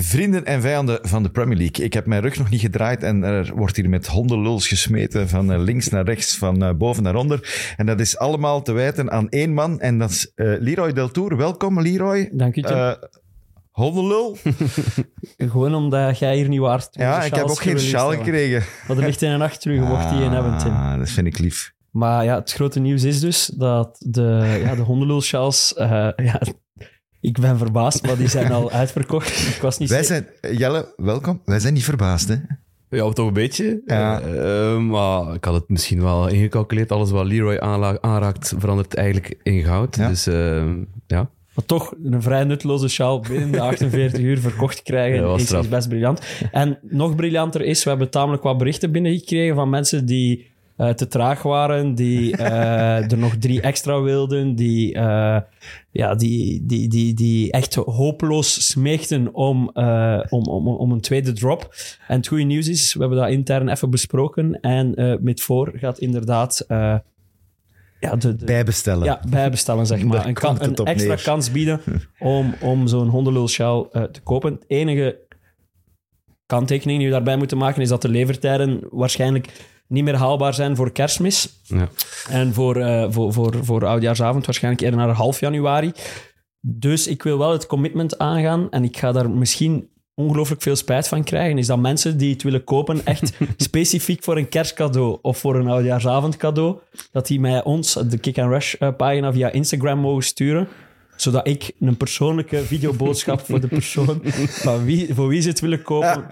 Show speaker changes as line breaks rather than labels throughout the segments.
Vrienden en vijanden van de Premier League. Ik heb mijn rug nog niet gedraaid en er wordt hier met hondenluls gesmeten van eh, links naar rechts, van eh, boven naar onder. En dat is allemaal te wijten aan één man en dat is eh, Leroy Deltour. Welkom Leroy.
Dank u, Tim.
Eh hondenlul?
Gewoon omdat jij hier niet Dus waard
Ja, ik heb ook geen sjaal gekregen.
Wat er ligt in een nacht terug, je mocht die een hebben, Tim.
Ah, dat vind ik lief.
Maar ja, het grote nieuws is dus dat de, ja, de hondenlul-sjaals... eh, ja, ik ben verbaasd, maar die zijn al uitverkocht. Ik was niet...
Wij
zeker-
zijn, Jelle, welkom. Wij zijn niet verbaasd, hè?
Ja, toch een beetje.
Ja.
Eh, eh, maar ik had het misschien wel ingecalculeerd. Alles wat Leroy aanla- aanraakt, verandert eigenlijk in goud.
Ja.
Dus eh, ja,
Maar toch een vrij nutteloze sjaal binnen de 48 uur verkocht krijgen
Ja, was
is, is
straf.
best briljant. En nog briljanter is, we hebben tamelijk wat berichten binnengekregen van mensen die eh, te traag waren, die eh, er nog drie extra wilden, die, eh, ja, die, die, die, die echt hopeloos smeekten om, eh, om, om, om een tweede drop. En het goede nieuws is, we hebben dat intern even besproken en eh met voor gaat inderdaad... eh, ja, de, de,
Bijbestellen.
ja, bijbestellen, zeg maar.
Daar
Een, kan-
komt het
een
op
extra
neer.
kans bieden om, om zo'n hondenlulsjaal eh te kopen. Het enige kanttekening die we daarbij moeten maken is dat de levertijden waarschijnlijk niet meer haalbaar zijn voor kerstmis.
ja.
En voor, eh, voor, voor, voor oudjaarsavond waarschijnlijk eerder naar half januari. Dus ik wil wel het commitment aangaan en ik ga daar misschien ongelooflijk veel spijt van krijgen. Is dat mensen die het willen kopen echt specifiek voor een kerstcadeau of voor een oudjaarsavond cadeau, dat die mij ons, de Kick and Rush eh, pagina, via Instagram mogen sturen zodat ik een persoonlijke videoboodschap voor de persoon van wie, voor wie ze het willen kopen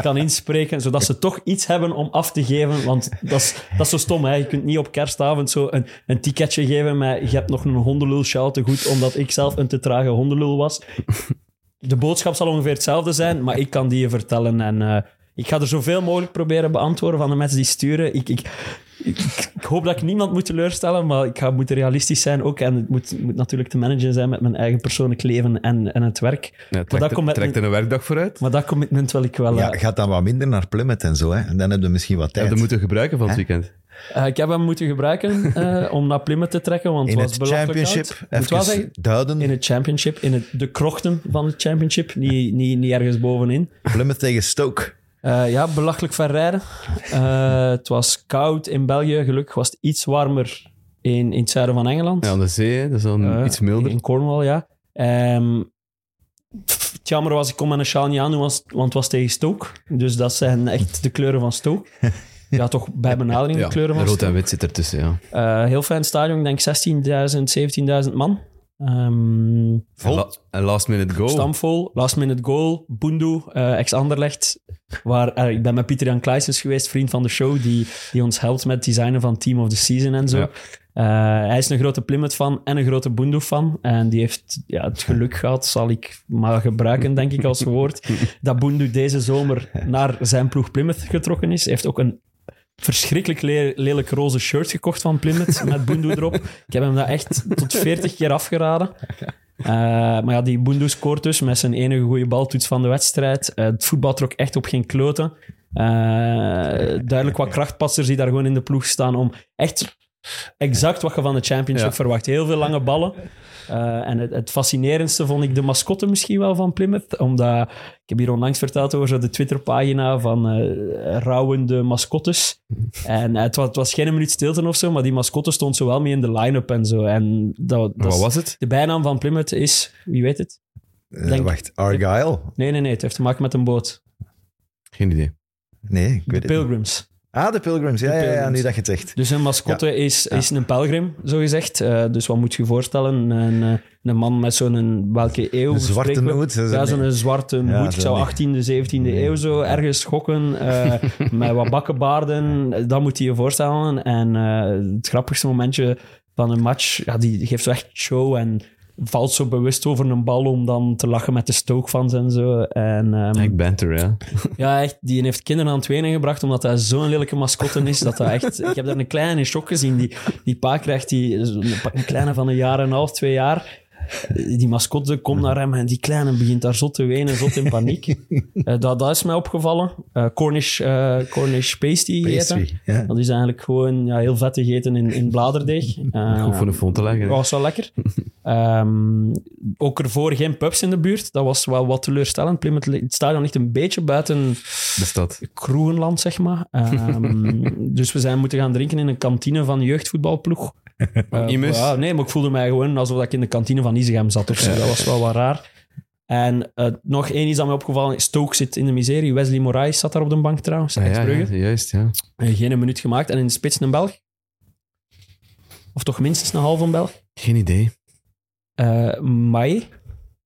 kan inspreken, zodat ze toch iets hebben om af te geven. Want dat is, dat is zo stom, hè? je kunt niet op kerstavond zo een, een ticketje geven, maar je hebt nog een hondenlul sjaal te goed, omdat ik zelf een te trage hondenlul was. De boodschap zal ongeveer hetzelfde zijn, maar ik kan die je vertellen. En eh, ik ga er zoveel mogelijk proberen beantwoorden van de mensen die sturen. Ik, ik, ik, ik hoop dat ik niemand moet teleurstellen, maar ik ga, moet realistisch zijn ook. En het moet, moet natuurlijk te managen zijn met mijn eigen persoonlijk leven en, en het werk.
ja
maar,
trekt,
dat
er-
commitment-
trekt er een werkdag vooruit.
maar dat commitment wil ik wel.
Ja,
eh,
gaat dan wat minder naar Plummet en zo, hè? En dan heb je misschien wat
Ja,
tijd.
dat moeten we gebruiken van het weekend.
Eh, ik heb hem moeten gebruiken eh, om naar Plymouth te trekken, want
In
het was
het
belachelijk koud.
championship,
Ik moet wel
even
zeggen,
duiden.
in het championship, in het, de krochten van het championship, niet, niet, niet ergens bovenin.
Plymouth tegen Stoke.
Eh, ja, belachelijk ver rijden. Eh, het was koud in België, gelukkig was het iets warmer in, in het zuiden van Engeland.
Ja, aan de zee, hè, dat is dan
Eh,
iets milder.
In Cornwall, ja. Ehm, pff, het jammer was, ik kon mijn sjaal niet aan doen, was- want het was tegen Stoke. Dus dat zijn echt de kleuren van Stoke. Ja, toch bij benadering
Ja,
de kleuren van
rood
Stoke.
en wit zit ertussen, ja.
Eh, heel fijn stadion, ik denk 16.000, 17.000 man. Ehm
En, la- en last minute goal.
Stamvol, last minute goal, Bundu, eh, ex-Anderlecht. Waar, eh, ik ben met Pieter Jan Kluisens geweest, vriend van de show, die, die ons helpt met het designen van Team of the Season en zo.
Ja.
Eh, hij is een grote Plymouth-fan en een grote Bundu-fan. En die heeft ja, het geluk gehad, zal ik maar gebruiken, denk ik, als woord, dat Bundu deze zomer naar zijn ploeg Plymouth getrokken is. Hij heeft ook een verschrikkelijk le- lelijk roze shirt gekocht van Plymouth met Bundu erop. Ik heb hem dat echt tot 40 keer afgeraden. Eh, maar ja, die Bundu scoort dus met zijn enige goede baltoets van de wedstrijd. Eh, het voetbal trok echt op geen kloten. Eh, duidelijk wat krachtpassers die daar gewoon in de ploeg staan om echt exact wat je van de championship
Ja.
verwacht. Heel veel lange ballen. Eh, en het, het fascinerendste vond ik de mascotte misschien wel van Plymouth. Omdat, ik heb hier onlangs verteld over zo de Twitterpagina van eh rouwende mascottes. En het was, het was geen minuut stilte of zo, maar die mascotte stond zo wel mee in de line-up en zo. En dat, dat
Wat
is-
was het?
de bijnaam van Plymouth is, wie weet het?
Eh,
Denk-
wacht, Argyle?
Nee, nee, nee, het heeft te maken met een boot.
Geen idee.
Nee, ik
De
weet het niet.
Pilgrims.
Ah, de Pilgrims. Ja,
De
ja, ja,
Pilgrims.
nu dat je het zegt.
Dus een mascotte is, is een pelgrim, zogezegd. Eh dus wat moet je voorstellen? Een, eh, een man met zo'n, welke eeuw?
Een zwarte
spreken we?
noot. dat is
Ja,
een-
zo'n zwarte
Ja,
hoed.
zo
Ik zou
niet.
18e, 17e eeuw zo ergens schokken. eh, met wat bakkenbaarden. Dat moet je je voorstellen. En eh, het grappigste momentje van een match, ja, die geeft zo echt show en valt zo bewust over een bal om dan te lachen met de stookfans en zo. En, ehm,
Ik banter, ja.
ja, echt. Die heeft kinderen aan het wenen gebracht, omdat hij zo'n lelijke mascotte is. Dat hij echt... Ik heb daar een kleine in shock gezien. Die, die pa krijgt die, zo'n- een kleine van een jaar en een half, twee jaar. Die mascotte komt naar hem en die kleine begint daar zot te wenen, zot in paniek. Eh, dat, dat is mij opgevallen. Eh, Cornish, eh, Cornish pasty eten.
Pastry, ja.
Dat is eigenlijk gewoon ja, heel vettig eten in, in bladerdeeg. Eh,
Goed voor een fond te leggen.
was wel lekker. Ehm, ook ervoor geen pubs in de buurt. Dat was wel wat teleurstellend. Plymouth, li- het stadion ligt een beetje buiten
De stad.
Kroegenland, zeg maar. Ehm, dus we zijn moeten gaan drinken in een kantine van een jeugdvoetbalploeg. Eh,
Imus?
ja, nee, maar ik voelde mij gewoon alsof ik in de kantine van Izegem zat of zo. Dat was wel wat raar. En eh, nog één is dat mij opgevallen. Stoke zit in de miserie. Wesley Moraes zat daar op de bank trouwens.
Ah, ja,
ex-Brugge.
ja, juist, ja.
Eh, Geen een minuut gemaakt. En in de spits een Belg. Of toch minstens een half een Belg.
Geen idee.
Eh Mai.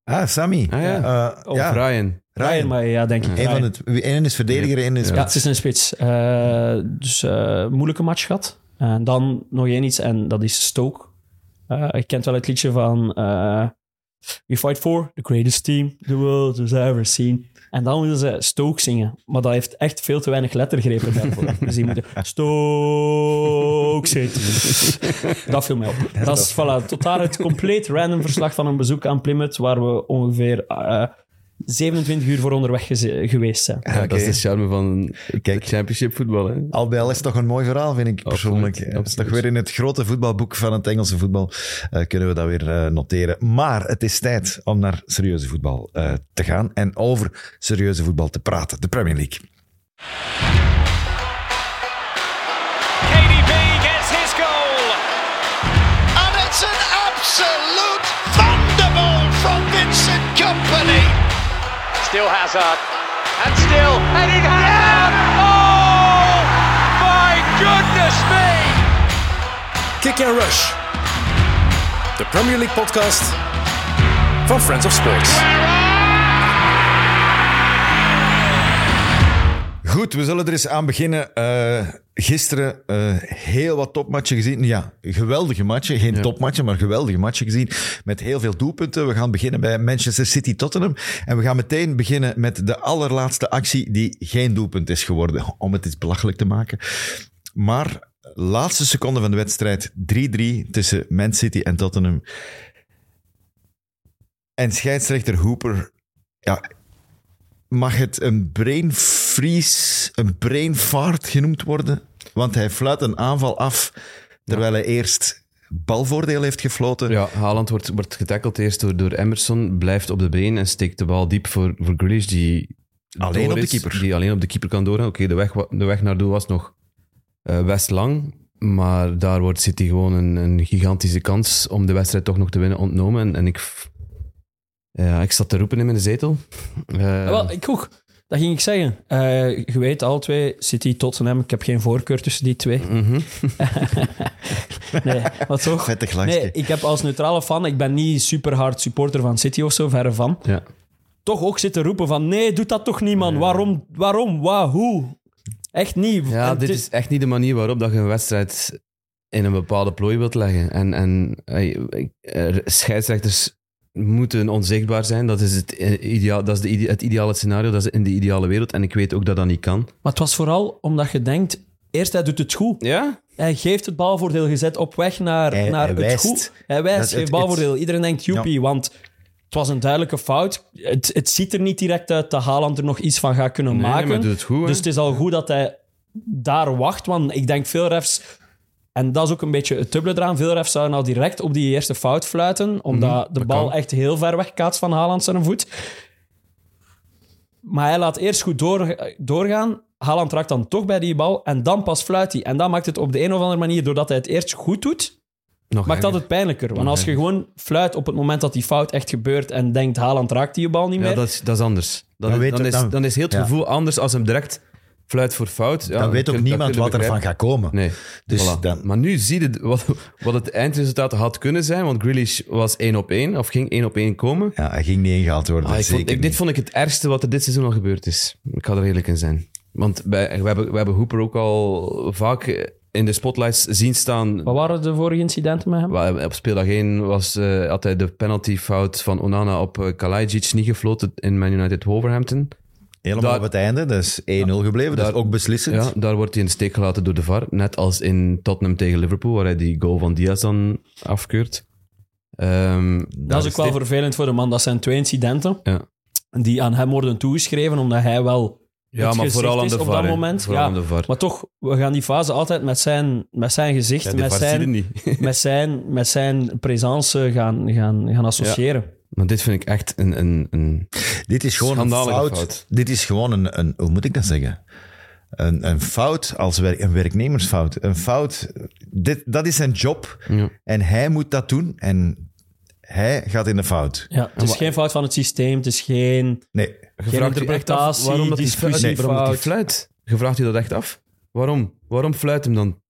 Ah, Sammy.
Ah, ja.
Eh, ja,
Brian.
Ryan
Ryan.
Mai, ja, denk ik.
Eén
Ryan.
van het, één is verdediger, één is...
Ja, het is een spits. Eh, dus eh moeilijke match gehad. En dan nog één iets, en dat is Stoke. Eh ik kent wel het liedje van... eh, We fight for the greatest team the world has ever seen. En dan moeten ze Stoke zingen. Maar dat heeft echt veel te weinig lettergrepen daarvoor. Dus die moeten Stoke zitten. Dat viel mij op. Dat is voilà, tot daar het compleet random verslag van een bezoek aan Plymouth, waar we ongeveer eh, 27 uur voor onderweg geze- geweest zijn.
Ja, Dat is
Oké.
de charme van
Kijk.
Kijk. championship voetbal. Hè?
Al bij al is toch een mooi verhaal, vind ik persoonlijk.
Absoluut,
Dat is toch
absoluut.
weer in het grote voetbalboek van het Engelse voetbal eh, kunnen we dat weer eh, noteren. Maar het is tijd om naar serieuze voetbal eh, te gaan en over serieuze voetbal te praten. De Premier League.
KDB gets his goal.
And it's an absolute thunderbolt from Vincent Company.
Still Hazard. And still Eden Hazard. Oh, my goodness me.
Kick and Rush. De Premier League podcast van Friends of Sports.
Goed, we zullen er eens aan beginnen. Eh, gisteren eh, heel wat topmatchen gezien. Ja, geweldige matchen. Geen topmatchen, maar geweldige matchen gezien. Met heel veel doelpunten. We gaan beginnen bij Manchester City-Tottenham. En we gaan meteen beginnen met de allerlaatste actie die geen doelpunt is geworden. Om het eens belachelijk te maken. Maar laatste seconde van de wedstrijd. 3-3 tussen Man City en Tottenham. En scheidsrechter Hooper... Ja, mag het een brain freeze, een brain fart genoemd worden? Want hij fluit een aanval af terwijl hij eerst balvoordeel heeft gefloten.
Ja, Haaland wordt, wordt getackeld eerst door, door Emerson, blijft op de been en steekt de bal diep voor, voor Grealish, die
Alleen
door
op de
is,
keeper.
Die alleen op de keeper kan doorgaan. Oké, de, weg, wa- de weg naar doel was nog eh, best lang, maar daar wordt City gewoon een, een gigantische kans om de wedstrijd toch nog te winnen ontnomen. En, en ik, f- ja, ik zat te roepen in mijn zetel. Eh,
Ja, Ah, wel, ik ook. Dat ging ik zeggen. Eh, je weet, alle twee, City, Tottenham, ik heb geen voorkeur tussen die twee.
mhm.
Nee, maar toch?
Vettig langske.
Nee, ik heb als neutrale fan, ik ben niet super hard supporter van City of zo, verre van.
ja.
Toch ook zitten roepen van, nee, doet dat toch niet, man. Waarom, waarom, waarom? Echt niet.
Ja,
En
dit
het-
is echt niet de manier waarop dat je een wedstrijd in een bepaalde plooi wilt leggen. En, en ey, ik- er- scheidsrechters moeten onzichtbaar zijn. Dat is, het, eh, ideaal, dat is de, ide- het ideale scenario, dat is in de ideale wereld. En ik weet ook dat dat niet kan.
Maar het was vooral omdat je denkt, eerst hij doet het goed.
Ja?
Hij geeft het balvoordeel gezet op weg naar,
Hij-
naar
hij
het
wijst.
goed. Hij wijst,
Dat- het-
geeft balvoordeel. Iedereen denkt, joepie,
Ja.
want het was een duidelijke fout. Het, het ziet er niet direct uit dat Haaland er nog iets van gaat kunnen
Nee,
maken.
maar doet het goed, hè?
dus het is al goed dat hij daar wacht, want ik denk veel refs... En dat is ook een beetje het dubbele eraan. Veel refs zouden al direct op die eerste fout fluiten, omdat de bal
Mhm, kan.
echt heel ver weg kaatst van Haaland zijn voet. Maar hij laat eerst goed door, doorgaan. Haaland raakt dan toch bij die bal en dan pas fluit hij. En dat maakt het op de een of andere manier, doordat hij het eerst goed doet,
Nog
maakt dat
erger.
het pijnlijker. Want als je gewoon fluit op het moment dat die fout echt gebeurt en denkt Haaland raakt die bal niet
Ja,
meer.
dat is, dat is anders. Dan,
Dan
dan,
weet ook-
is,
dan-
dan, is heel het
ja.
gevoel anders als hem direct fluit voor fout. Ja,
dan weet
kun-
ook
dat
niemand
kun je
wat ervan
begrijpen.
gaat komen.
Nee.
Dus
Voilà.
dan-
Maar nu zie je wat, wat het eindresultaat had kunnen zijn, want Grealish was één op één, of ging één op één komen.
Ja, hij ging niet ingehaald worden.
Ah, ik vond-
zeker
ik- dit
niet.
vond ik het ergste wat er dit seizoen al gebeurd is. Ik ga er eerlijk in zijn. Want bij, we, hebben, we hebben Hooper ook al vaak in de spotlights zien staan.
Wat waren de vorige incidenten met hem?
Wa- Op speeldag 1 was, eh, had hij de penaltyfout van Onana op eh, Kalajdzic niet gefloten in Man United Wolverhampton.
Helemaal
daar-
op het einde, dus 1-0 gebleven. Dat is
daar-
ook beslissend.
Ja, daar wordt hij in de steek gelaten door de VAR. Net als in Tottenham tegen Liverpool, waar hij die goal van Diaz dan afkeurt. Eh, Ehm,
Dat is ook wel
dit-
vervelend voor de man. Dat zijn twee incidenten
Ja.
die aan hem worden toegeschreven, omdat hij wel...
Ja,
het
maar
gezicht
vooral aan
is
de
op
VAR.
dat
hè.
moment,
Vooral
ja.
aan de VAR.
Maar toch, we gaan die fase altijd met zijn, met zijn gezicht,
Ja, de
met,
VAR zie je
zijn,
niet.
met, zijn, met zijn présence gaan, gaan, gaan associëren.
Maar dit vind ik echt een... een, een...
Dit is gewoon een
Schandalige
fout.
fout.
Dit is gewoon een, een, hoe moet ik dat zeggen? Een, een fout als wer- een werknemersfout. Een fout, dit, dat is zijn job
Ja.
en hij moet dat doen en hij gaat in de fout.
Ja, het is geen fout van het systeem, het is geen...
Nee,
Je vraagt je echt af
interpretatie,
waarom dat die
discussie,
fluit- waarom dat die
fout.
fluit. Je vraagt je dat echt af. Waarom? Waarom fluit hem dan?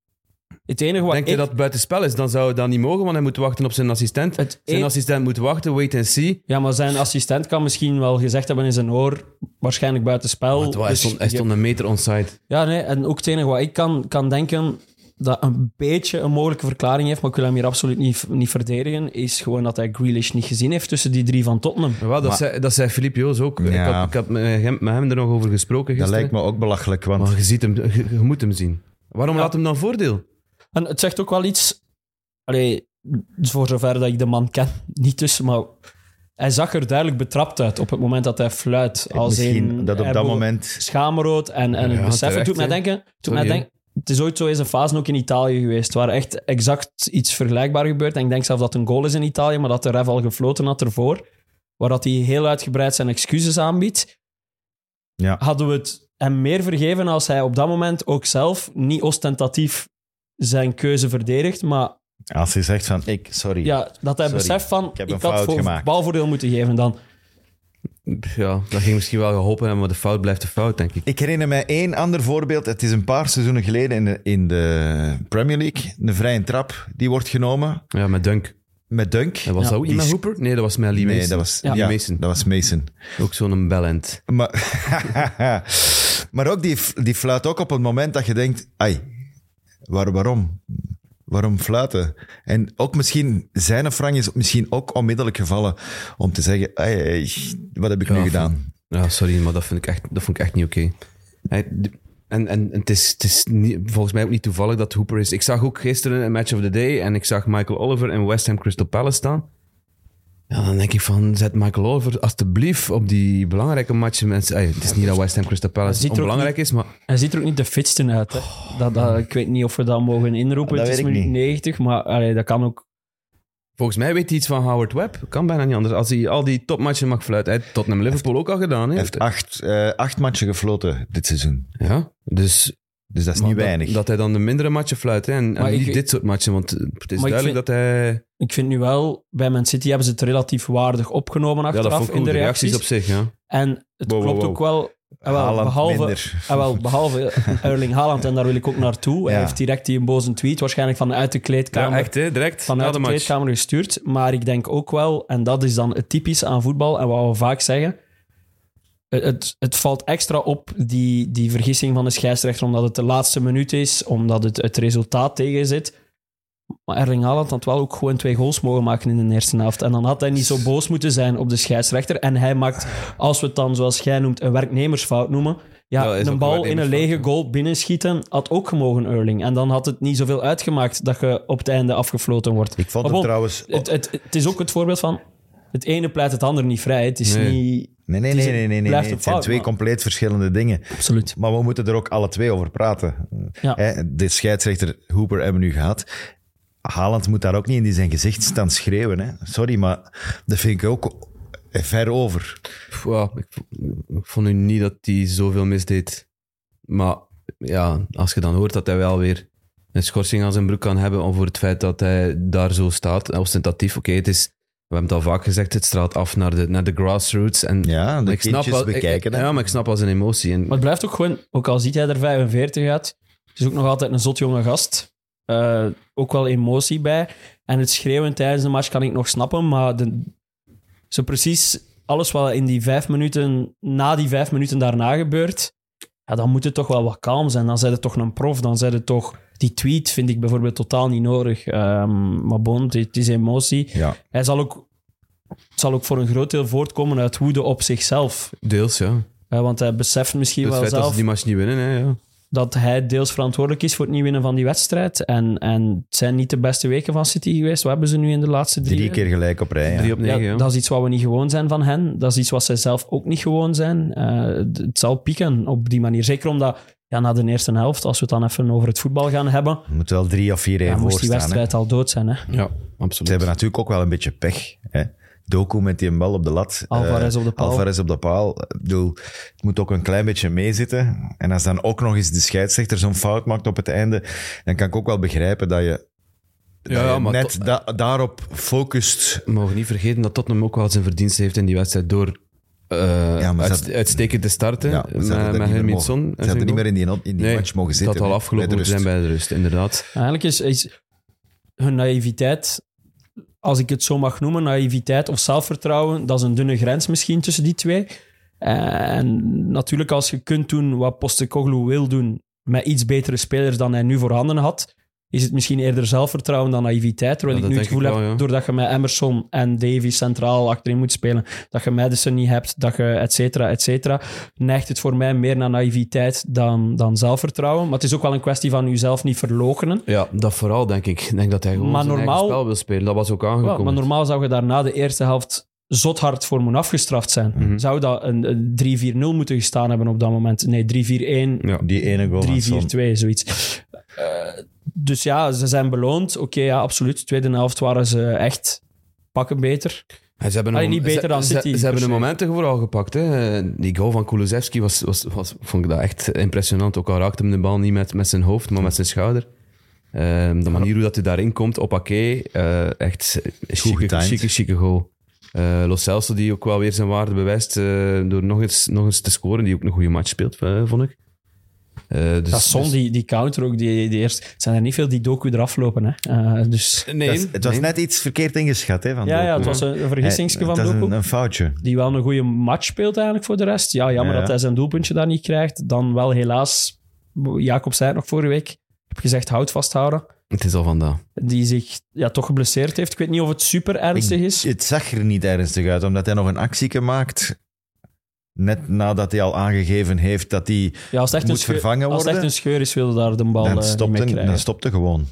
Het enige wat
Denk
ik...
je dat het buitenspel is? Dan zou dat niet mogen, want hij moet wachten op zijn assistent.
Het e- Oh,
zijn
een-
assistent moet wachten, wait and see.
Ja, maar zijn assistent kan misschien wel gezegd hebben in zijn oor, waarschijnlijk buitenspel.
Want hij,
dus
stond, hij
je-
stond een meter onside.
Ja, nee, en ook het enige wat ik kan, kan denken dat een beetje een mogelijke verklaring heeft, maar ik wil hem hier absoluut niet, niet verdedigen, is gewoon dat hij Grealish niet gezien heeft tussen die drie van Tottenham.
Maar wel, dat, zei, dat zei Filip Joos ook. Ik
Ja.
had, ik had met, hem, met hem er nog over gesproken
dat lijkt
gisteren.
me ook belachelijk, want
Maar je, ziet hem, je, je moet hem zien. Waarom laat hem dan voordeel?
En het zegt ook wel iets... Allee, voor zover dat ik de man ken, niet tussen, maar... Hij zag er duidelijk betrapt uit op het moment dat hij fluit. Als
misschien
in,
dat op
hij
dat
be-
moment...
schaamrood en, en het
Ja,
besef. Het
terecht,
doet mij
hè.
denken... Doet mij
Sorry, hè.
denken het is ooit zo eens een fase ook in Italië geweest, waar echt exact iets vergelijkbaar gebeurt. En ik denk zelf dat het een goal is in Italië, maar dat de ref al gefloten had ervoor. Waar dat hij heel uitgebreid zijn excuses aanbiedt.
Ja.
Hadden we het hem meer vergeven als hij op dat moment ook zelf niet ostentatief zijn keuze verdedigt, maar
Als hij zegt van, ik, sorry.
ja, dat hij
Sorry.
beseft van,
Ik
ik,
heb een
had
fout
voor
gemaakt.
balvoordeel moeten geven dan.
Ja, dat ging misschien wel geholpen hebben, maar de fout blijft de fout, denk ik.
Ik herinner mij één ander voorbeeld. Het is een paar seizoenen geleden in de, in de Premier League. Een vrije trap die wordt genomen
Ja, met Dunk.
met Dunk.
En was
Ja.
dat ook
Die
iemand
sc-
Hooper? Nee, dat was Melly Mason.
Nee, dat was,
Ja.
ja,
Mason.
dat was Mason.
Ook zo'n bellend.
Maar, maar ook die, die fluit ook op het moment dat je denkt, ai, waar, waarom? Waarom fluiten? En ook misschien, zijn Frank is misschien ook onmiddellijk gevallen om te zeggen, ai, ai, wat heb ik nu
Ja,
gedaan?
Ja, sorry, maar dat, vind ik echt, dat vond ik echt niet oké. Hij- de- En, en en het is, het is niet, volgens mij ook niet toevallig dat Hooper is. Ik zag ook gisteren een match of the day en ik zag Michael Oliver en West Ham Crystal Palace staan. Ja, dan denk ik van, zet Michael Oliver alsjeblieft op die belangrijke matchen. Mensen, ey, het is niet dat West Ham Crystal
Dat
Palace
ziet er ook
onbelangrijk is, maar
Hij ziet er ook niet de fitsten uit. Hè. Dat, dat, ik weet niet of we dat mogen inroepen.
Dat
het is
weet ik
minuut
niet.
90, maar allee, dat kan ook.
volgens mij weet hij iets van Howard Webb. Kan bijna niet anders. Als hij al die topmatchen mag fluiten. Hij heeft Tottenham Liverpool ook al gedaan. Hè?
Hij heeft acht, eh, acht matchen gefloten dit seizoen.
Ja, dus
Dus dat is niet
Maar dat-
weinig.
Dat, hij dan de mindere matchen fluit. Hè? En, en
Maar
niet
ik-
dit soort matchen, want het is
Maar ik
duidelijk
vind-
dat hij...
Ik vind nu wel, bij Man City hebben ze het relatief waardig opgenomen
Ja, dat
achteraf
vond ik
in
cool.
de reacties.
op zich, ja.
En het
Wow, wow,
klopt
wow.
ook wel. En wel,
Haaland
behalve,
minder.
en wel, behalve Erling Haaland, en daar wil ik ook naartoe. Hij
Ja.
heeft direct die een boze tweet, waarschijnlijk vanuit de kleedkamer.
Ja, echt, hè? direct
vanuit de,
na de match.
kleedkamer gestuurd. Maar ik denk ook wel, en dat is dan het typisch aan voetbal en wat we vaak zeggen. het- Het, het valt extra op, die, die vergissing van de scheidsrechter, omdat het de laatste minuut is, omdat het, het resultaat tegen zit. Maar Erling Haaland had wel ook gewoon twee goals mogen maken in de eerste helft. En dan had hij niet zo boos moeten zijn op de scheidsrechter. En hij maakt, als we het dan, zoals jij noemt, een werknemersfout noemen. Ja,
Ja, is ook
een
een
bal in een
werknemersfout,
lege goal binnenschieten had ook gemogen, Erling. En dan had het niet zoveel uitgemaakt dat je op het einde afgefloten wordt.
ik vond hem
Maar bon,
trouwens...
het, het, het is ook het voorbeeld van... Het ene pleit het ander niet vrij. Het is
Nee.
niet...
Nee, nee,
het is-
nee, nee, nee, nee, nee.
blijft
Het
een
zijn
fout,
twee
maar-
compleet verschillende dingen.
Absoluut.
Maar we moeten er ook alle twee over praten.
Ja.
Hè, de scheidsrechter Hooper hebben we nu gehad. Haaland moet daar ook niet in die zijn gezicht staan schreeuwen. Hè. Sorry, maar dat vind ik ook ver over.
Pff, ja, ik, v- ik vond nu niet dat hij zoveel misdeed. Maar ja, als je dan hoort dat hij wel weer een schorsing aan zijn broek kan hebben om voor het feit dat hij daar zo staat, ostentatief. Oké, het is... We hebben het al vaak gezegd, het straalt af naar de, naar de grassroots. En
Ja, de
maar ik snap
kindjes
wel- ik-
bekijken
ik-
dat.
ja, maar ik snap als een emotie. En,
Maar het blijft ook gewoon... Ook al ziet hij er 45 uit, het is ook nog altijd een zot jonge gast. Eh, ook wel emotie bij. En het schreeuwen tijdens de match kan ik nog snappen, maar de, zo precies alles wat in die vijf minuten... Na die vijf minuten daarna gebeurt, ja, dan moet het toch wel wat kalm zijn. Dan zijn het toch een prof, dan zijn het toch... Die tweet vind ik bijvoorbeeld totaal niet nodig. Ehm, maar bon, het het is emotie.
Ja.
Hij zal ook, het zal ook voor een groot deel voortkomen uit woede op zichzelf.
Deels, ja.
Hè, want hij beseft misschien
Het
wel
feit dat
zelf...
ze die match niet winnen, hè, ja.
dat hij deels verantwoordelijk is voor het niet winnen van die wedstrijd. En, en het zijn niet de beste weken van City geweest. Wat hebben ze nu in de laatste drie
Drie keer gelijk op rij.
Drie
Ja.
op negen,
ja,
ja.
dat is iets wat we niet gewoon zijn van hen. Dat is iets wat zij zelf ook niet gewoon zijn. Eh, d- het zal pieken op die manier. Zeker omdat ja, na de eerste helft, als we het dan even over het voetbal gaan hebben,
Er moet wel drie of vier
ja,
even
moest
voor
die
staan. hè.
wedstrijd al dood zijn. Hè.
Ja,
Ze
absoluut.
hebben natuurlijk ook wel een beetje pech. Hè? Doku met die bal op de lat.
Alvarez
eh,
op de paal.
Alvarez op de paal. Ik bedoel, het moet ook een klein beetje meezitten. En als dan ook nog eens de scheidsrechter zo'n fout maakt op het einde, dan kan ik ook wel begrijpen dat je, dat
ja,
je
maar
net
to-
da- daarop focust.
We mogen niet vergeten dat Tottenham ook wel zijn verdiensten heeft in die wedstrijd door eh
Ja, maar ze
uit-
had-
uitstekend te starten
Dus
eh,
Ja, ze
met,
hadden er
met
niet meer mogen-
Herminson.
Ze hadden niet meer in die, in die match mogen zitten.
dat had
hè,
al
bij de
afgelopen moeten
rust.
zijn bij de rust, inderdaad.
Eigenlijk is, is hun naïviteit, als ik het zo mag noemen, naïviteit of zelfvertrouwen, dat is een dunne grens misschien tussen die twee. En natuurlijk, als je kunt doen wat Postecoglou wil doen met iets betere spelers dan hij nu voorhanden had, is het misschien eerder zelfvertrouwen dan naïviteit. Terwijl
Ja,
ik
dat
nu het
denk
gevoel
ik
heb,
wel, ja.
doordat je met Emerson en Davy centraal achterin moet spelen, dat je Madison niet hebt, dat je et cetera, et cetera, neigt het voor mij meer naar naïviteit dan, dan zelfvertrouwen. Maar het is ook wel een kwestie van jezelf niet verloochenen.
Ja, dat vooral denk ik. Ik denk dat hij gewoon
Maar
zijn eigen
normaal-
spel wil spelen. Dat was ook
Ja,
aangekomen.
maar normaal zou je daar na de eerste helft zot hard voor moeten afgestraft zijn.
Mhm.
Zou dat een, een 3-4-0 moeten gestaan hebben op dat moment? Nee, 3-4-1,
Ja.
Die ene goal van Son.
3-4-2, zoiets. Eh, dus ja, ze zijn beloond. Oké, ja, absoluut. Tweede helft waren ze echt pakken beter.
En ze hebben
Allee,
een-
niet beter
ze-
dan
ze-
City,
Ze,
per
hebben
se.
een momenten vooral gepakt. Hè. Die goal van Kulusevski was, was, was, vond ik dat echt impressionant. Ook al raakte hem de bal niet met, met zijn hoofd, maar met zijn schouder. Ehm, de manier hoe dat hij daarin komt, op oké, eh, echt chique,
getimed.
chique, chique goal. Eh Los Celso die ook wel weer zijn waarde bewijst eh, door nog eens, nog eens te scoren. Die ook een goede match speelt, eh, vond ik. Eh, dus,
Dat is zon, die, die counter ook, die, die eerst. Het zijn er niet veel die docu eraf lopen. Hè. Eh, dus
dus- nee,
Dat is- het was
nee.
net iets verkeerd ingeschat hè, van
ja,
Doku.
ja, het was een, een vergissingsje
Eh,
van
Het is
docu.
een, een foutje.
die wel een goede match speelt eigenlijk voor de rest. Ja, jammer
Ja.
dat hij zijn doelpuntje daar niet krijgt. Dan wel helaas, Jacob zei het nog vorige week, heb gezegd hout vasthouden.
Het is al vandaag.
Die zich ja, toch geblesseerd heeft. Ik weet niet of het super ernstig is.
Het zag er niet ernstig uit, omdat hij nog een actieke maakt. Net nadat hij al aangegeven heeft dat hij
Ja, als het echt, een
moet
scheur,
vervangen
als het echt
worden.
een scheur is, wilde daar de bal eh,
Dan
niet mee
stopte,
krijgen.
dan stopte gewoon.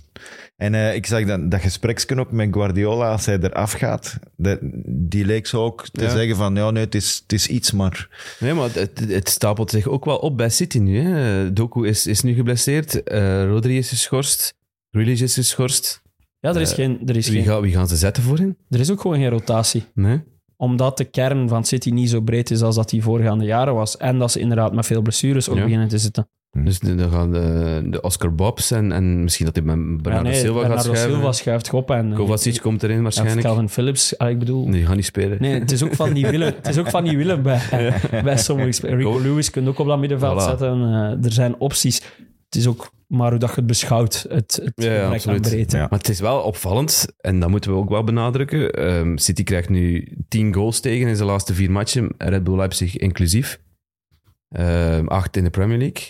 En eh, ik zag dan, dat gespreksken ook met Guardiola, als hij eraf gaat, de- die leek zo ook te
Ja.
zeggen van, ja, nee, het is, het is iets, maar...
Nee, maar het, het stapelt zich ook wel op bij City nu. Hè. Doku is, is nu geblesseerd. eh Rodri is geschorst. Grealish is geschorst.
ja, er is, geen, er, is
eh, Wie,
geen,
ga, wie gaan ze zetten voor hen?
er is ook gewoon geen rotatie.
Nee?
Omdat de kern van City niet zo breed is als dat die voorgaande jaren was. En dat ze inderdaad met veel blessures ook
Ja.
beginnen te zitten.
Dus de- dan gaan de, de Oscar Bobs en, en misschien dat hij met
Ja,
Bernardo
nee,
Silva gaat
Bernardo
schuiven.
Silva schuift op. En,
Kovacic komt erin
en
waarschijnlijk.
Calvin Phillips, ah, ik bedoel...
Nee, die gaat niet spelen.
Nee, het is ook van die willen, het is ook van die willen bij, bij sommige spelers. Rico
Goal.
Lewis kunt ook op dat middenveld
Voilà.
zetten. Eh, er zijn opties. Het is ook maar hoe dat je het beschouwt. Het, het
Ja, ja,
gebrek aan
absoluut.
breedte.
Ja.
Maar het is wel opvallend, en dat moeten we ook wel benadrukken. Ehm, City krijgt nu 10 goals tegen in zijn laatste vier matchen, Red Bull Leipzig inclusief. Ehm acht in de Premier League.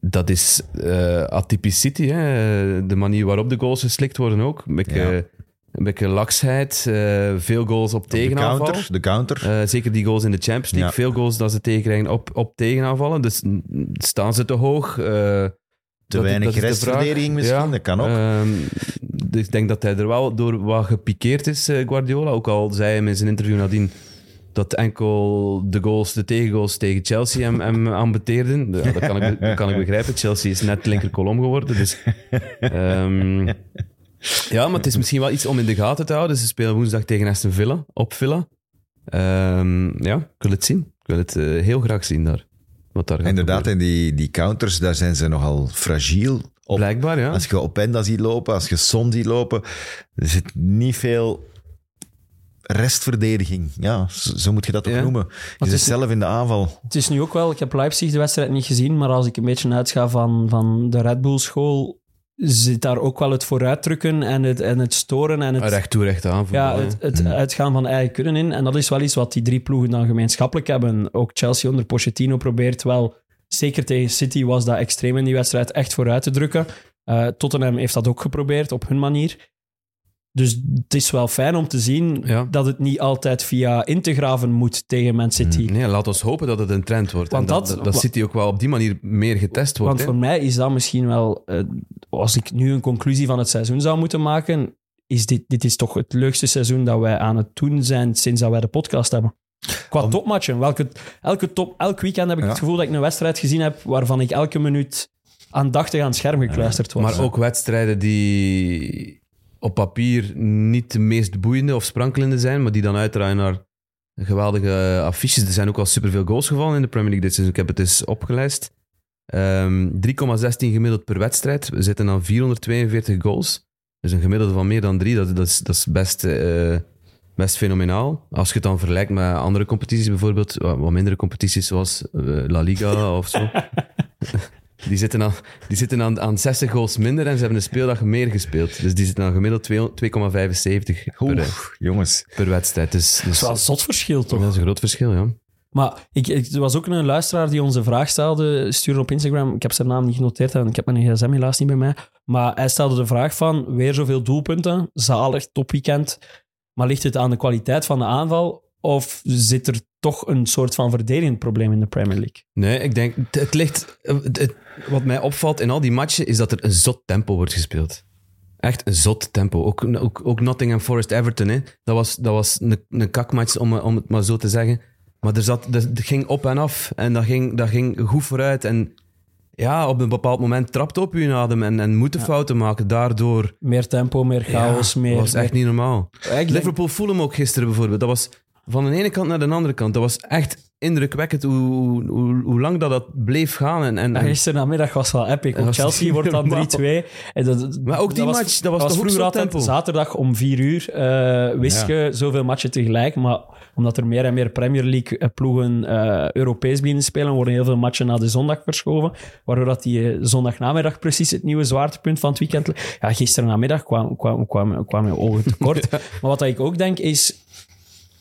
Dat is eh, atypisch City, hè? de manier waarop de goals geslikt worden ook. Een beetje,
Ja.
een beetje laksheid, eh, veel goals op
De
tegenaanval.
counter, de counter.
Eh, zeker die goals in de Champions League.
Ja.
Veel goals dat ze tegenkrijgen op, op tegenaanvallen. Dus mm, staan ze te hoog? eh,
te
dat-
weinig
dat is de
restverdediging
vraag.
misschien,
Ja.
dat kan ook.
Ehm, dus ik denk dat hij er wel door wat gepikeerd is, eh, Guardiola. Ook al zei hij in zijn interview nadien dat enkel de goals, de tegengoals tegen Chelsea hem, hem ambeteerden. Ja, dat, kan ik, dat kan ik begrijpen. Chelsea is net linkerkolom geworden. Dus, ehm, ja, maar het is misschien wel iets om in de gaten te houden. Ze spelen woensdag tegen Aston Villa, op Villa. Ehm, ja, ik wil het zien. Ik wil het eh, heel graag zien daar. Wat daar gaat
Inderdaad,
gebeuren.
en die, die counters, daar zijn ze nogal fragiel op.
Blijkbaar, ja.
Als je Openda ziet lopen, als je Son ziet lopen, er zit niet veel restverdediging. Ja, zo zo moet je dat ook
Ja.
noemen. Je zit
is-
zelf in de aanval.
Het is nu ook wel, ik heb Leipzig de wedstrijd niet gezien, maar als ik een beetje uitga van, van de Red Bull school, zit daar ook wel het vooruitdrukken en het, en het storen en het,
Recht toe, recht aan.
ja,
voetbal, hè. Mm.
het, het uitgaan van eigen kunnen in. En dat is wel iets wat die drie ploegen dan gemeenschappelijk hebben. Ook Chelsea onder Pochettino probeert wel, zeker tegen City was dat extreem in die wedstrijd, echt vooruit te drukken. Eh, Tottenham heeft dat ook geprobeerd op hun manier. Dus het is wel fijn om te zien
Ja.
dat het niet altijd via in te graven moet tegen Man City.
Nee, laat ons hopen dat het een trend wordt.
Want
en dat,
dat-
dat, dat City ook wel op die manier meer getest wordt.
Want voor mij is dat misschien wel, eh, als ik nu een conclusie van het seizoen zou moeten maken, is dit, dit is toch het leukste seizoen dat wij aan het doen zijn sinds dat wij de podcast hebben. Qua topmatchen. Welke, elke top, elk weekend heb ik
Ja.
het gevoel dat ik een wedstrijd gezien heb waarvan ik elke minuut aandachtig aan het scherm gekluisterd was.
Maar ook wedstrijden die op papier niet de meest boeiende of sprankelende zijn, maar die dan uitdraaien naar geweldige affiches. Er zijn ook al superveel goals gevallen in de Premier League dit seizoen. Ik heb het eens opgelijst. Ehm, 3,16 gemiddeld per wedstrijd. We zitten aan 442 goals. Dus een gemiddelde van meer dan drie, dat, dat, is, dat is best, eh, best fenomenaal. Als je het dan vergelijkt met andere competities, bijvoorbeeld wat wat mindere competities zoals eh, La Liga of zo. Die zitten, aan, die zitten aan, aan 60 goals minder en ze hebben een speeldag meer gespeeld. Dus die zitten aan gemiddeld 2,75 per,
Oef, jongens.
per wedstrijd. Dus,
dat is wel een zot verschil, toch?
dat is een groot verschil, ja.
Maar ik, ik- er was ook een luisteraar die ons een vraag stelde, stuurde op Instagram. Ik heb zijn naam niet genoteerd en ik heb mijn gsm helaas niet bij mij. Maar hij stelde de vraag van, weer zoveel doelpunten, zalig, topweekend. Maar ligt het aan de kwaliteit van de aanval of zit er toch een soort van verdedigend probleem in de Premier League?
Nee, ik denk, het, het ligt, eh, het- het- wat mij opvalt in al die matchen is dat er een zot tempo wordt gespeeld. Echt een zot tempo. Ook, ook, ook Nottingham Forest Everton, hè. dat was, dat was een, een kakmatch, om, om het maar zo te zeggen. Maar er zat, er, het ging op en af en dat ging, dat ging goed vooruit. En ja, op een bepaald moment trapt op je adem en, en moeten fouten maken. Daardoor
Meer tempo, meer chaos,
Ja,
meer...
Dat was echt niet normaal.
denk-
Liverpool Fulham ook gisteren bijvoorbeeld. Dat was van de ene kant naar de andere kant. Dat was echt indrukwekkend hoe, hoe, hoe lang dat, dat bleef gaan. En, en,
Ja,
en-
Gisterenmiddag was wel epic. Want
was
Chelsea
niet
wordt dan
normaal.
3-2. En dat-
Maar ook die match, dat was toch ook
vroeger
zo'n
altijd
tempo?
zaterdag om 4 uur eh wist je zoveel matchen tegelijk. Maar omdat er meer en meer Premier League eh, ploegen eh, Europees beginnen spelen, worden heel veel matchen naar de zondag verschoven. Waardoor dat die eh, zondagnamiddag precies het nieuwe zwaartepunt van het weekend. li- Ja, gisterenmiddag kwamen kwam, kwam, kwam mijn ogen tekort. Maar wat ik ook denk is,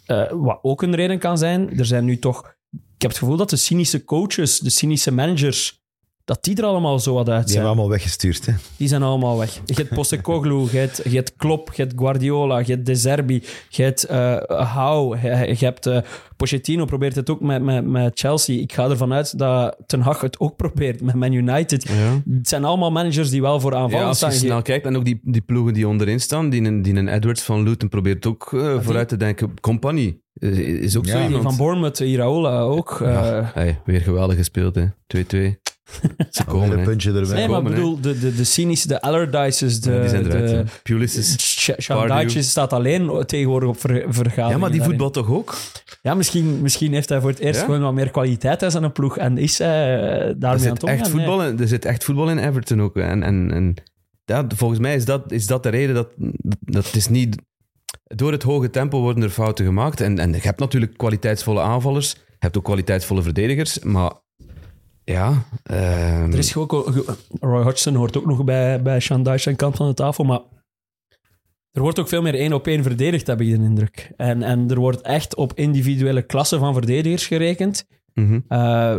eh, wat ook een reden kan zijn, er zijn nu toch... Ik heb het gevoel dat de cynische coaches, de cynische managers, dat die er allemaal zo wat uit
Die hebben
zijn.
allemaal weggestuurd, hè.
Die zijn allemaal weg. Je hebt Postecoglou, je hebt, je hebt Klopp, je hebt Guardiola, je hebt De Zerbi, je hebt eh Hou, je, je hebt eh, Pochettino probeert het ook met, met, met Chelsea. Ik ga ervan uit dat Ten Hag het ook probeert met Man United. Het zijn allemaal managers die wel voor aanvallen
ja, als je
staan.
snel kijkt, en ook die, die ploegen die onderin staan, die, een- die een Edwards van Luton probeert ook eh, vooruit te denken. Compagnie is, is ook
Ja.
zo
Die
Die
iemand.
van Bournemouth, Iraola ook. eh,
Hey, weer geweldig gespeeld, hè. 2-2. Ze komen,
Een
hè.
puntje erbij.
nee, maar ik
komen, hè.
bedoel, de, de, de cynische, de Allardyces, de...
Ja, die zijn
de-
eruit. hè. Pulisic.
Ch- Shandaatje staat alleen tegenwoordig op ver- vergaderingen.
Ja, maar die
daarin.
voetbal toch ook?
Ja, misschien, misschien heeft hij voor het eerst
Ja?
gewoon wat meer kwaliteit uit zijn ploeg en is hij eh,
Er
daarmee aan
zit,
het omgaan. nee.
echt voetbal in, er zit echt voetbal in Everton ook. En, en, en dat, volgens mij is dat, is dat de reden dat, dat het is niet... Door het hoge tempo worden er fouten gemaakt. En, en je hebt natuurlijk kwaliteitsvolle aanvallers. Je hebt ook kwaliteitsvolle verdedigers. Maar ja... ehm,
Er is gewoon ook- ge- Roy Hodgson hoort ook nog bij, bij Shandaatje aan kant van de tafel, maar er wordt ook veel meer één op één verdedigd, heb ik de indruk. En, en er wordt echt op individuele klassen van verdedigers gerekend.
mhm.
Eh,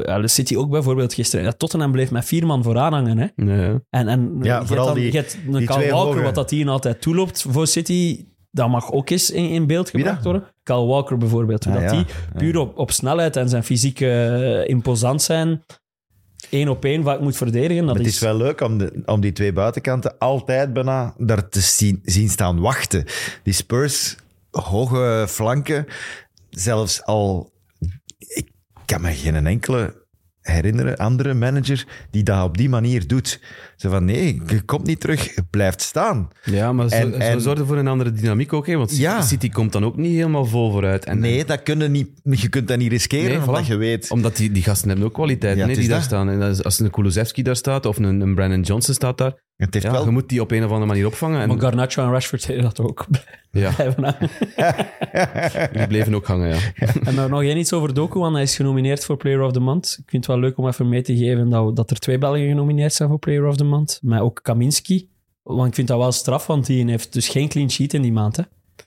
ja, de City ook bijvoorbeeld gisteren. Ja, Tottenham bleef met vier man vooraan hangen. Hè?
Ja, ja.
En, en
Ja,
je
vooral
hebt dan,
die-
je hebt een
die
Kyle
twee
Walker,
hoge.
wat dat hier altijd toeloopt voor City, dat mag ook eens in, in beeld gebracht worden. Kyle Walker bijvoorbeeld, hoe
Ah,
dat
ja.
die puur op, op snelheid en zijn fysieke eh, imposant zijn, één op één vaak moet verdedigen. Dat
Maar
is,
het is wel leuk om, de, om die twee buitenkanten altijd bijna daar te zien, zien staan wachten. Die Spurs, hoge flanken, zelfs al... Ik kan me geen enkele herinneren, andere manager, die dat op die manier doet. Ze van, nee, je komt niet terug, je blijft staan.
ja maar ze,
En-
ze
en-
zorgen voor een andere dynamiek ook. Hè, want
Ja.
City komt dan ook niet helemaal vol vooruit. En,
Nee, dat kunnen niet, je kunt dat niet riskeren,
Nee,
omdat
voilà.
je weet...
Omdat die, die gasten hebben ook kwaliteit
Ja,
nee,
het
die
is
daar
dat.
staan. En als- als een Kulusevski daar staat of een, een Brandon Johnson staat daar,
Het heeft
ja,
wel...
je moet die op een of andere manier opvangen. En,
Maar Garnacho en Rashford deden dat ook.
ja.
Blijven hangen.
Die bleven ook hangen, ja.
en nou, nog één iets over Doku, want hij is genomineerd voor Player of the Month. Ik vind het wel leuk om even mee te geven dat, we- dat er twee Belgen genomineerd zijn voor Player of the Month, maar ook Kaminski. Want ik vind dat wel straf, want die heeft dus geen clean sheet in die maand. Hè.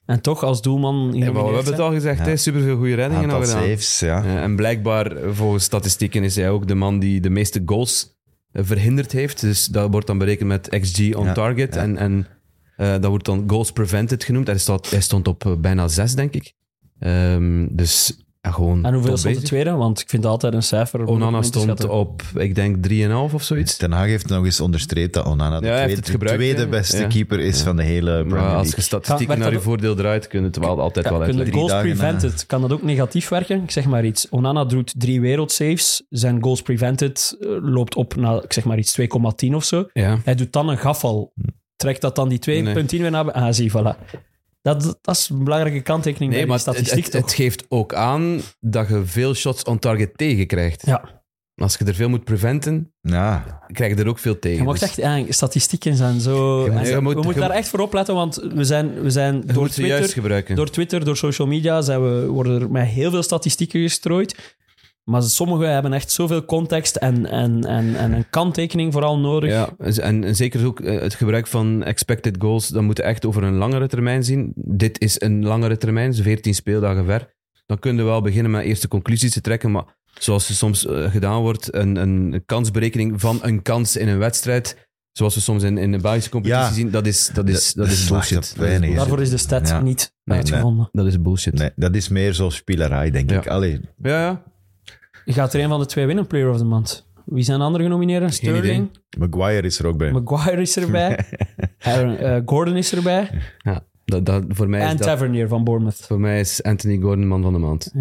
En toch als doelman
Ja, maar we
genomineerd
hebben het
zijn.
al gezegd, hè, superveel goede reddingen al
Aantal
gedaan.
saves, ja.
Ja, En blijkbaar, eh, volgens statistieken, is hij ook de man die de meeste goals eh, verhinderd heeft. Dus dat wordt dan berekend met XG on
Ja,
target. En, en Eh, dat wordt dan goals prevented genoemd. Hij, staat, hij stond op eh, bijna zes, denk ik. Ehm, dus ja, gewoon.
En hoeveel
top
stond de
bezig.
tweede? Want ik vind altijd een cijfer. moeilijk
Onana
om in te
stond
schatten.
op, ik denk, 3,5 of zoiets.
Ten Haag heeft nog eens onderstreept dat Onana de,
Ja, hij heeft
tweede,
het gebruikt,
de tweede
ja.
beste
Ja.
keeper is van de hele Premier
Maar als je
League.
Kan-
statistieken
werd
naar je
dat-
voordeel draait, kun je het wel altijd wel
Kunnen
uitleggen.
drie
goals
dagen,
prevented, kan dat ook negatief werken? Ik zeg maar iets. Onana doet drie wereldsaves. Zijn goals prevented eh, loopt op naar, ik zeg maar iets, 2,10 of zo.
Ja.
Hij doet dan een gaffel. Trekt dat dan die 2,10
Hm. Nee.
weer naar... be- Ah, zie, voilà. Dat, dat is een belangrijke kanttekening
Nee,
bij
maar
die statistiek,
het, het, het
toch?
geeft ook aan dat je veel shots on target tegenkrijgt.
Ja,
Als je er veel moet preventen,
Ja,
krijg je er ook veel tegen.
je mag
Dus
echt... Ja, statistieken zijn zo...
Je moet-
en
je
we
moet-
moeten
je
daar
moet-
echt voor opletten, want we zijn, we zijn
je
door
moet ze juist
Twitter...
gebruiken.
Door Twitter, door social media zijn we, worden er met heel veel statistieken gestrooid. Maar sommigen hebben echt zoveel context en, en, en, en een kanttekening vooral nodig.
Ja, en, en zeker ook eh, het gebruik van expected goals, dat moet je echt over een langere termijn zien. Dit is een langere termijn, zo'n 14 speeldagen ver. Dan kunnen we wel beginnen met eerste conclusies te trekken, maar zoals er soms eh, gedaan wordt, een, een kansberekening van een kans in een wedstrijd, zoals we soms in, in de Belgische competitie
Ja.
zien, dat is, dat is, dat is
slaat op
bullshit. Dat is
weinig, hè.
bullshit.
Daarvoor is de stat
Ja.
niet
Nee,
uitgevonden.
Dat is bullshit.
nee, dat is meer zo'n spielerij, denk
Ja.
ik. Allee,
Ja, ja.
Gaat er een van de twee winnen, Player of the Month? Wie zijn de andere genomineerden?
Geen idee.
Sterling,
Maguire is er ook bij.
Maguire is erbij, Aaron, eh, Gordon is erbij
ja. Dat, dat, voor, mij
en
is dat,
Tavernier van Bournemouth.
voor mij is Anthony Gordon man van de maand.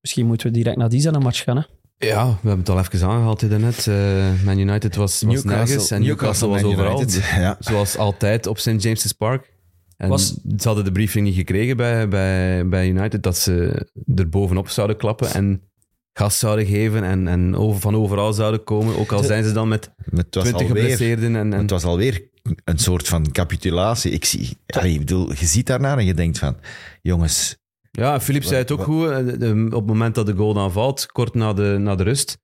Misschien moeten we direct naar die zijn een match gaan. Hè?
Ja, we hebben het al even aangehaald hier daarnet. Eh Man United was, was nergens en Newcastle, was
Man
overal.
United. Ja.
Zoals altijd op St. James's Park. En
Was-
ze hadden de briefing niet gekregen bij, bij, bij United dat ze er bovenop zouden klappen en gas zouden geven en, en over, van overal zouden komen. Ook al zijn ze dan met
Maar Het was
20
alweer,
geblesseerden. En, en,
het was alweer een soort van capitulatie. Ik zie, allee, ik bedoel, je ziet daarnaar en je denkt van, jongens,
Ja, Philips zei het ook
Wat-
goed. eh, de- de- Op het moment dat de goal dan valt, kort na de, na de rust,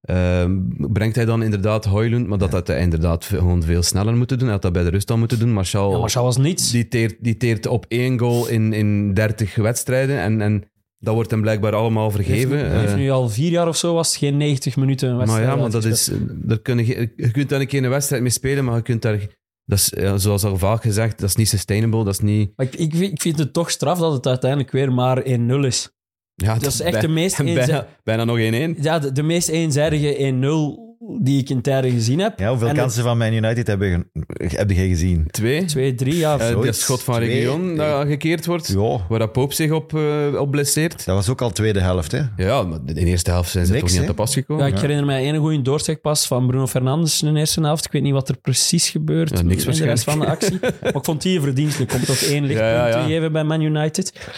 eh, brengt hij dan inderdaad Hoylund, maar dat had hij inderdaad ve- gewoon veel sneller moeten doen. Hij had dat bij de rust dan moeten doen. Martial,
Ja, Martial was niets.
Oh. Die, teert, die teert op één goal in, in 30 wedstrijden en, en dat wordt hem blijkbaar allemaal vergeven.
Heeft nu, heeft
Eh,
nu al vier jaar of zo was het geen 90 minuten
maar
wedstrijd. Dus
ja, maar dat
uitgespeeld.
is, daar kunnen, ge- je kunt daar een keer een wedstrijd mee spelen, maar je kunt daar, dat is, eh, zoals al vaak gezegd, dat is niet sustainable, dat is niet...
Maar ik, ik, vind- ik vind het toch straf dat het uiteindelijk weer maar 1-0 is.
Ja,
Dat is echt de meest
bijna,
eenza-
bijna nog 1-1.
Ja, de, de meest eenzijdige 1-0 die ik in tijden gezien heb.
ja, hoeveel
En
kansen van Man United heb je, heb je gezien?
Twee.
Twee, drie, ja.
Eh, dat
Zoiets.
schot van
Twee.
Region dat gekeerd wordt,
Ja,
waar dat Pope zich op, eh, op blesseert.
dat was ook al tweede helft, hè?
Ja, maar in de eerste helft zijn ze
Niks,
toch niet aan
hè?
te pas
ja,
gekomen.
ik herinner mij één goede doortrekpas van Bruno Fernandes in de eerste helft. Ik weet niet wat er precies gebeurt
Ja, niks
in de rest
waarschijnlijk.
van de actie. Maar ik vond die verdienstelijk om toch één lichtpunt
Ja, ja, ja.
te geven bij Man United.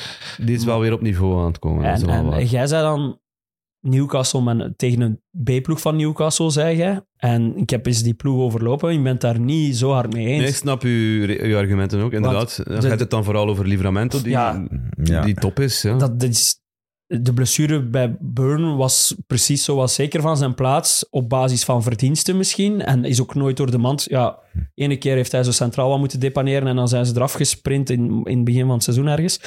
Die is wel weer op niveau aan het komen. dat is
en
wel
en
waar.
jij zei dan Newcastle man, tegen een B-ploeg van Newcastle, zei jij. En ik heb eens die ploeg overlopen. Je bent daar niet zo hard mee eens.
Nee, ik snap uw, re- uw argumenten ook, inderdaad. Dan
de-
gaat het dan vooral over Livramento, die,
Ja.
Ja.
die top is. Ja.
dat, dat is, de blessure bij Burn was precies zoals zeker van zijn plaats, op basis van verdiensten misschien, en is ook nooit door de mand. Ja, ene keer heeft hij zo centraal wat moeten depaneren en dan zijn ze eraf gesprint in, in het begin van het seizoen ergens.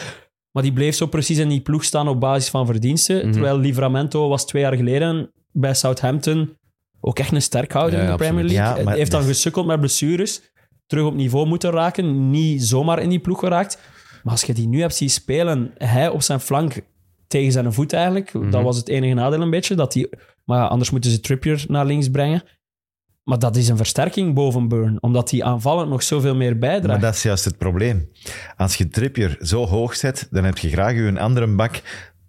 Maar die bleef zo precies in die ploeg staan op basis van verdiensten,
Mhm.
terwijl Livramento was twee jaar geleden bij Southampton ook echt een sterk houder
Ja,
in de
absoluut.
Premier League.
Ja, maar-
Hij heeft dan gesukkeld met blessures, terug op niveau moeten raken, niet zomaar in die ploeg geraakt. Maar als je die nu hebt zien spelen, hij op zijn flank tegen zijn voet eigenlijk,
Mhm.
dat was het enige nadeel een beetje. Dat die, maar ja, anders moeten ze Trippier naar links brengen. Maar dat is een versterking boven Burn, omdat die aanvallend nog zoveel meer
Maar
bijdraagt.
dat is juist het probleem. Als je Trippier zo hoog zet, dan heb je graag je een andere bak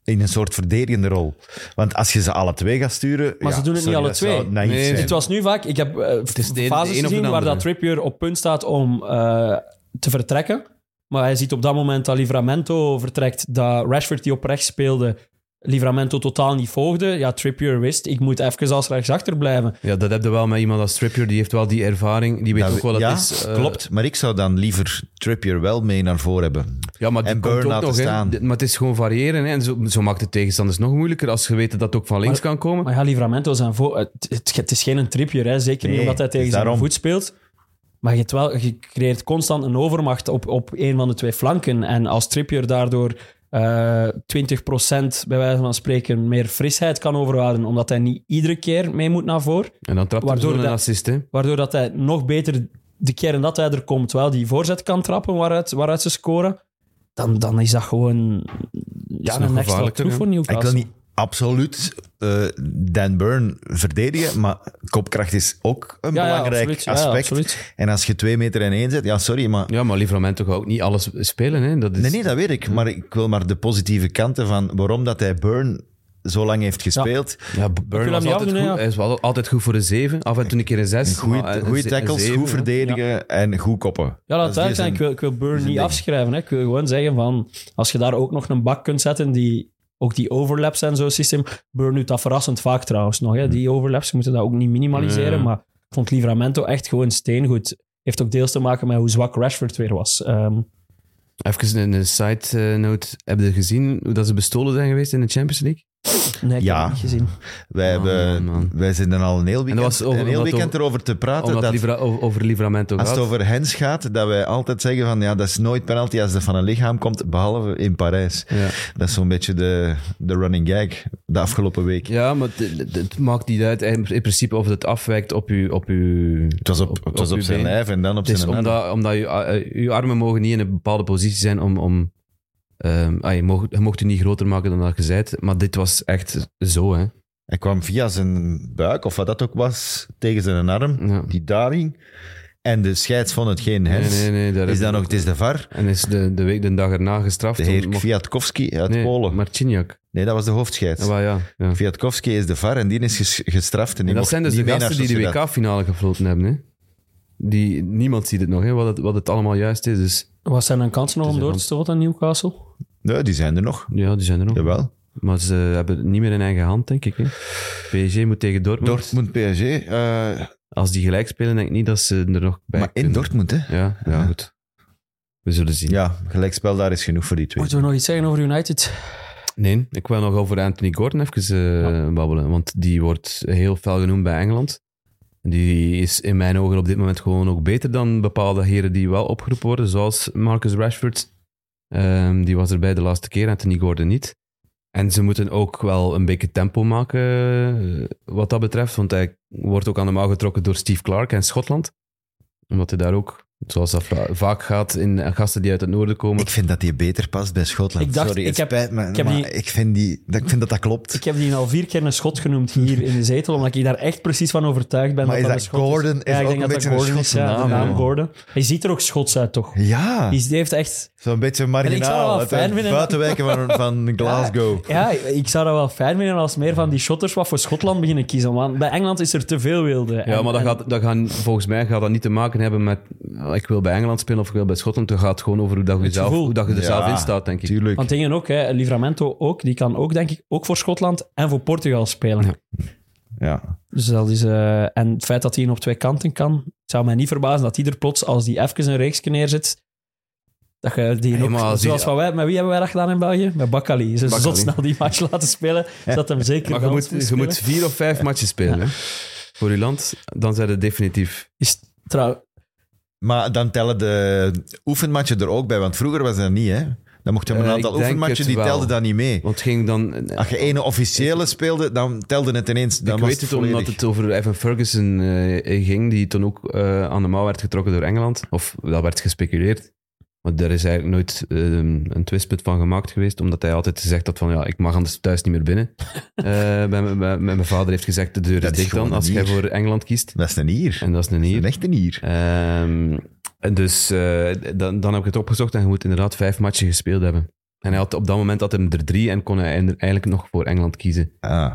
in een soort verdedigende rol. Want als je ze alle twee gaat sturen...
Maar ze doen het niet alle
dat zou
twee.
naïef
Nee,
zijn.
Het was nu vaak, ik heb eh,
is de- de een of
fases
de
gezien waar
andere.
dat Trippier op punt staat om eh, te vertrekken. Maar hij ziet op dat moment dat Livramento vertrekt, dat Rashford die op rechts speelde, Livramento totaal niet volgde. Ja, Trippier wist, ik moet even als rechtsachter blijven.
ja, dat heb je wel met iemand als Trippier, die heeft wel die ervaring, die weet
Dat-
ook wel dat
Nou, ja,
is. eh,
klopt. Maar ik zou dan liever Trippier wel mee naar voren hebben.
Ja, maar die
En
komt
Burn
ook
laten
nog, hè.
staan.
Dit- Maar het is gewoon variëren, hè. En zo, zo maakt het tegenstanders nog moeilijker als je weet dat het ook van links kan komen.
Maar ja, Livramento zijn vo- het, het, het is geen een Trippier, hè. zeker
Nee,
niet omdat hij tegen
dus
zijn
daarom.
voet speelt. Maar je, hebt wel, je creëert constant een overmacht op, op een van de twee flanken. En als Trippier daardoor eh 20% bij wijze van spreken meer frisheid kan overhouden, omdat hij niet iedere keer mee moet naar voren,
En dan trapt hij
Waardoor
zo'n
dat-
assist, hè.
waardoor dat hij nog beter de keren dat hij er komt, wel die voorzet kan trappen waaruit, waaruit ze scoren, dan, dan is dat gewoon ja,
nog
een extra
gevaarlijker,
troef
hè?
voor
Ik
Newcastle.
wil niet absoluut eh, Dan Burn verdedigen, maar kopkracht is ook een
Ja, ja,
belangrijk
absoluut. Ja, ja,
aspect.
absoluut.
en als je twee meter in één zet, ja, sorry, maar...
Ja, maar Livramento gaat ook niet alles spelen. Hè? Dat is,
Nee, nee, dat weet
Mm.
ik. Maar ik wil maar de positieve kanten van waarom dat hij Burn zo lang heeft gespeeld.
Ja, Burn
hem
was
niet
altijd
afdoen,
goed.
hè, ja.
Hij is wel altijd goed voor een 7, af en toe een keer een eh, 6.
Goede tackles, goed verdedigen en goed koppen.
Ja, laat
Dat
het
is dus
duidelijk zijn.
een-
Ik wil, ik wil Burn niet
ding.
afschrijven. Hè. Ik wil gewoon zeggen van, als je daar ook nog een bak kunt zetten die ook die overlaps en zo'n systeem. Burn doet dat verrassend vaak trouwens nog.
Hmm.
Hè. Die overlaps, we moeten dat ook niet minimaliseren.
Ja.
Maar ik vond Livramento echt gewoon steengoed. Heeft ook deels te maken met hoe zwak Rashford weer was. Ehm,
Even een- een side eh, note. Hebben jullie gezien hoe dat ze bestolen zijn geweest in de Champions League?
nee, ik
Ja.
heb het niet gezien.
Wij,
Man,
hebben,
man, man.
wij zitten al een heel weekend,
was over-
een heel
omdat
weekend
over-
erover te praten.
Omdat
dat
Livra- o- over Livramento
als het
gaat.
over hens gaat, dat wij altijd zeggen van ja, dat is nooit penalty als dat van een lichaam komt, behalve in Parijs.
Ja.
Dat is zo'n beetje de, de running gag de afgelopen week.
Ja, maar het, het- het maakt niet uit in in principe of het afwijkt op uw... Op uw
Het was op, het was op
uw
zijn
been.
lijf en dan op
Het is
zijn arm.
omdat, omdat je, eh, uw armen mogen niet in een bepaalde positie zijn om... om ehm, ah, je, mocht, je mocht je niet groter maken dan dat je bent, maar dit was echt zo, hè.
Hij kwam via zijn buik, of wat dat ook was, tegen zijn arm.
Ja.
Die daar hing. En de scheids vond het geen
Nee,
hens.
nee, nee. daar
Is
heb-
dat nog, het is de VAR.
En is de, de week de dag erna gestraft.
De heer
om- mocht-
Kwiatkowski uit
nee,
Polen.
Marciniak.
Nee, dat was de hoofdscheids.
Ah, wel, ja, ja.
Kwiatkowski is de VAR en die is ges- gestraft. En, die
En dat
mocht
zijn dus
niet
de
mee
gasten
naar
die de
Sociedad.
WK-finale gefloten hebben, hè. Die, niemand ziet het nog, hè, wat het, wat het allemaal juist is. Dus
Wat zijn dan kansen nog om door te stoten aan Newcastle?
Nee, die zijn er nog.
ja, die zijn er nog.
Jawel.
Maar ze hebben het niet meer in eigen hand, denk ik. Hè. PSG moet tegen Dortmund.
Dortmund, PSG. eh,
Als die gelijk spelen, denk ik niet dat ze er nog bij
maar in
kunnen.
Dortmund, hè.
Ja, ja,
Ja.
goed. We zullen zien.
Ja, gelijkspel daar is genoeg voor die twee.
Moeten we nog iets zeggen over United?
Nee, ik wil nog over Anthony Gordon even eh, babbelen. Want die wordt heel fel genoemd bij Engeland. Die is in mijn ogen op dit moment gewoon ook beter dan bepaalde heren die wel opgeroepen worden. Zoals Marcus Rashford. Ehm, die was erbij de laatste keer, Anthony Gordon niet. En ze moeten ook wel een beetje tempo maken eh, wat dat betreft. Want hij wordt ook aan de mouw getrokken door Steve Clark en Schotland. Omdat hij daar ook, zoals dat va- vaak gaat, in gasten die uit het noorden komen.
Ik vind dat die beter past bij Schotland.
Ik dacht,
Sorry, het
ik heb-
spijt me,
ik heb
maar
die-
ik, vind die, dat, ik vind dat dat klopt.
Ik heb die al vier keer een schot genoemd hier in de zetel, omdat ik daar echt precies van overtuigd ben.
Maar is
dat
dat
een schot
Gordon? Is
Ja,
ook
ik denk
een
dat
beetje
dat
een
Gordon is,
Schotse
ja, de
naam,
naam
ja.
Gordon. Hij ziet er ook Schots uit, toch?
ja,
Die heeft echt...
zo'n beetje
En ik zou dat
marginaal.
wel
uit
fijn
de
vinden.
buitenwijken van, van Glasgow.
Ja, ik zou dat wel fijn vinden als meer van die shotters wat voor Schotland beginnen kiezen. Want bij Engeland is er te veel wilde.
Ja,
En-
maar dat
en-
gaat, dat gaan, volgens mij gaat dat niet te maken hebben met eh, ik wil bij Engeland spelen of ik wil bij Schotland. Het gaat gewoon over hoe, dat je, zelf,
gevoel.
hoe dat je er
Ja,
zelf in staat, denk ik.
Tuurlijk.
Want dingen ook, hè, Livramento ook. Die kan ook, denk ik, ook voor Schotland en voor Portugal spelen.
Ja.
Ja.
Dus dat is... eh, en het feit dat hij op twee kanten kan... Het zou mij niet verbazen dat hij er plots, als die even een reeksje neerzet... Dat je die
Nee,
ook,
maar als die-
zoals van wij, met wie hebben wij dat gedaan in België? Met Bakali. Ze
Bakkali.
zot snel die match laten spelen, zodat hem zeker
Maar je
wel
moet,
moet
je
spelen.
moet vier of vijf matches spelen hè, voor je land. Dan zijn het definitief.
Is, trouw,
Maar dan tellen de oefenmatchen er ook bij, want vroeger was dat niet, hè? Dan mocht je maar een
Eh,
aantal
ik denk
oefenmatchen,
het
die
wel.
telden dat niet mee.
Want het ging dan. eh,
Als je ene officiële speelde, dan telde het ineens. Dan
ik
was
weet het
volledig.
omdat het over Evan Ferguson eh, ging, die toen ook eh, aan de mouw werd getrokken door Engeland. Of dat werd gespeculeerd. Maar daar is eigenlijk nooit eh, een twistpunt van gemaakt geweest, omdat hij altijd gezegd had van ja, ik mag anders thuis niet meer binnen. Eh, bij mijn- bij- mijn vader heeft gezegd, de deur
Dat
is
is
dicht
gewoon
dan, als
een
jij
nier.
voor Engeland kiest.
Dat is een hier.
En dat is een
Dat is
hier.
Een echte hier.
Ehm, en dus eh, dan, dan heb ik het opgezocht en je moet inderdaad vijf matchen gespeeld hebben. En hij had, op dat moment had hij er drie en kon hij eind- eigenlijk nog voor Engeland kiezen.
Ah,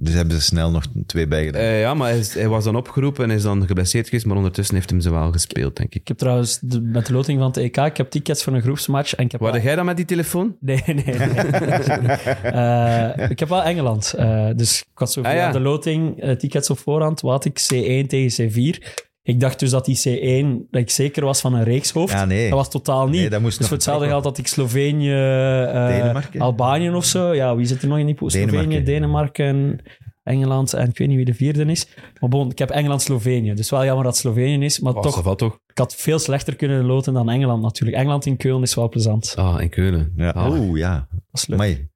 dus hebben ze snel nog twee bijgedaan.
Eh, ja, maar hij, is- hij was dan opgeroepen en is dan geblesseerd geweest, maar ondertussen heeft hem ze wel gespeeld, denk ik.
Ik heb trouwens de- met de loting van het EK, ik heb tickets voor een groepsmatch en ik heb...
Waar
wel-
jij dan met die telefoon?
Nee, nee. nee. Eh, ik heb wel Engeland. eh, dus ik had zo via
Ah, ja.
de loting eh, tickets op voorhand. Wat had ik? C1 tegen C4. Ik dacht dus dat die C1, dat ik zeker was van een reekshoofd.
Ja, nee.
Dat was totaal niet.
Nee, dat moest
dus
nog
voor hetzelfde
vertrokken.
geld had ik Slovenië, eh,
Denemarken.
Albanië of zo. Ja, wie zit er nog in die pool? Slovenië,
Denemarken.
Denemarken, Engeland en ik weet niet wie de vierde is. Maar bon, ik heb Engeland-Slovenië. Dus wel jammer dat het Slovenië is,
Oh,
maar toch,
Toch wel, toch?
ik had veel slechter kunnen loten dan Engeland natuurlijk. Engeland in Keulen is wel plezant.
Ah, in Keulen.
Ja.
Ah,
Oeh, ja.
Dat is leuk.
Amai.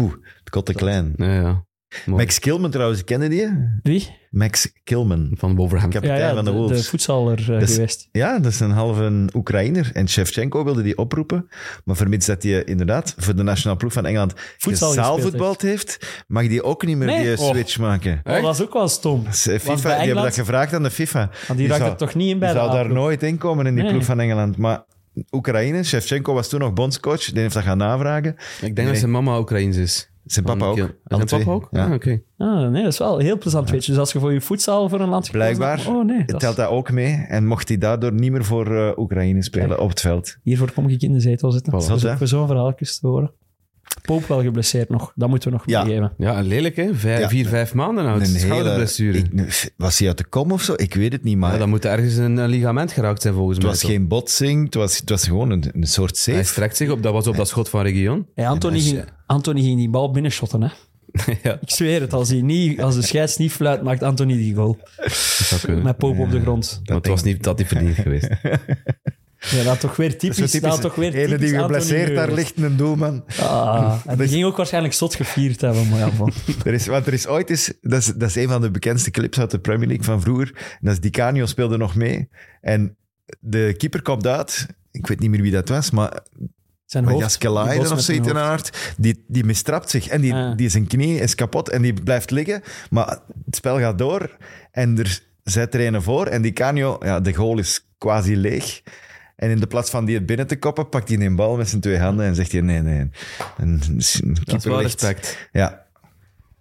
Oeh, het kot te klein.
ja, ja.
Max Kilman trouwens, kennen die? je?
Wie?
Max Kilman,
Van Wolverhampton.
kapitein van de
de, de
Wolves.
voetzaler eh,
Dus-
geweest.
ja, dat is een halve Oekraïner. En Shevchenko wilde die oproepen. Maar vermits dat hij eh, inderdaad voor de nationale ploeg van Engeland
Voetbal
zaalvoetbald heeft, mag die ook niet meer
Nee?
die
Oh.
switch maken.
Oh, dat is ook wel stom.
Dus, eh,
Want
FIFA,
bij
die hebben dat
Engeland-
gevraagd aan de FIFA.
Want die raakt
zou-
er toch niet in bij
die
de
zou daar
A-ploeg.
nooit in komen in die
Nee.
ploeg van Engeland. Maar Oekraïne, Shevchenko was toen nog bondscoach. Die heeft dat gaan navragen.
Ik denk dat zijn mama Oekraïens is.
Zijn papa
Van
ook.
Kiel.
Alle
Zijn papa
twee.
ook?
Ja.
Ah, oké.
Ah, nee, dat is wel een heel plezant weet je. Dus als je voor je voetzaal voor een land gekozen
Blijkbaar
hebt, Oh nee, dat
telt
is-
dat ook mee. En mocht hij daardoor niet meer voor eh, Oekraïne spelen op het veld.
hiervoor kom ik in de zetel zitten.
Voilà.
Dat is
Zot, hè?
ook voor zo'n verhaaltjes te horen. Poop wel geblesseerd nog. Dat moeten we nog
Ja.
meegeven.
Ja, lelijk hè? Vijf-
Ja.
Vier, vijf maanden oud. Schouderblessure.
ik- was hij uit de kom of zo? Ik weet het niet, maar
Ja, dan moet er ergens een, een ligament geraakt zijn volgens
het
mij.
was
toch?
geen botsing. Het was, het was gewoon een, een soort safe.
Hij strekt zich op, dat was op dat schot van Region.
Hey, Anthony,
En als
ging, Anthony ging die bal binnenshotten, hè.
ja,
Ik zweer het, als, hij niet, als de scheids niet fluit, maakt Anthony die goal.
dat zou kunnen.
Met poop op de grond.
Maar het was niet dat hij verdiend geweest.
Ja, dat toch weer typisch. Dat,
typisch,
toch weer
ene die
typisch Anthony
geblesseerd daar
Geuris.
ligt een doelman.
Ah, en die ging ook waarschijnlijk zot gevierd hebben, maar ja, van.
Er is, want er is ooit eens, dat is, dat is een van de bekendste clips uit de Premier League van vroeger. En dat is Di Canio speelde nog mee. En de keeper komt uit. Ik weet niet meer wie dat was, maar
Zijn
maar
hoofd.
Jaske
die
Leiden
bos
of
met zijn
zoiets in
nou.
hoofd.
aard. Die, die mistrapt zich en die,
Ah.
die zijn knie is kapot en die blijft liggen. Maar het spel gaat door en er zet er een voor. En die Canio, ja, de goal is quasi leeg. En in de plaats van die het binnen te koppen, pakt hij een bal met zijn twee handen en zegt hij nee, nee. En
Dat is
keeper
wel
ligt-
respect.
Ja.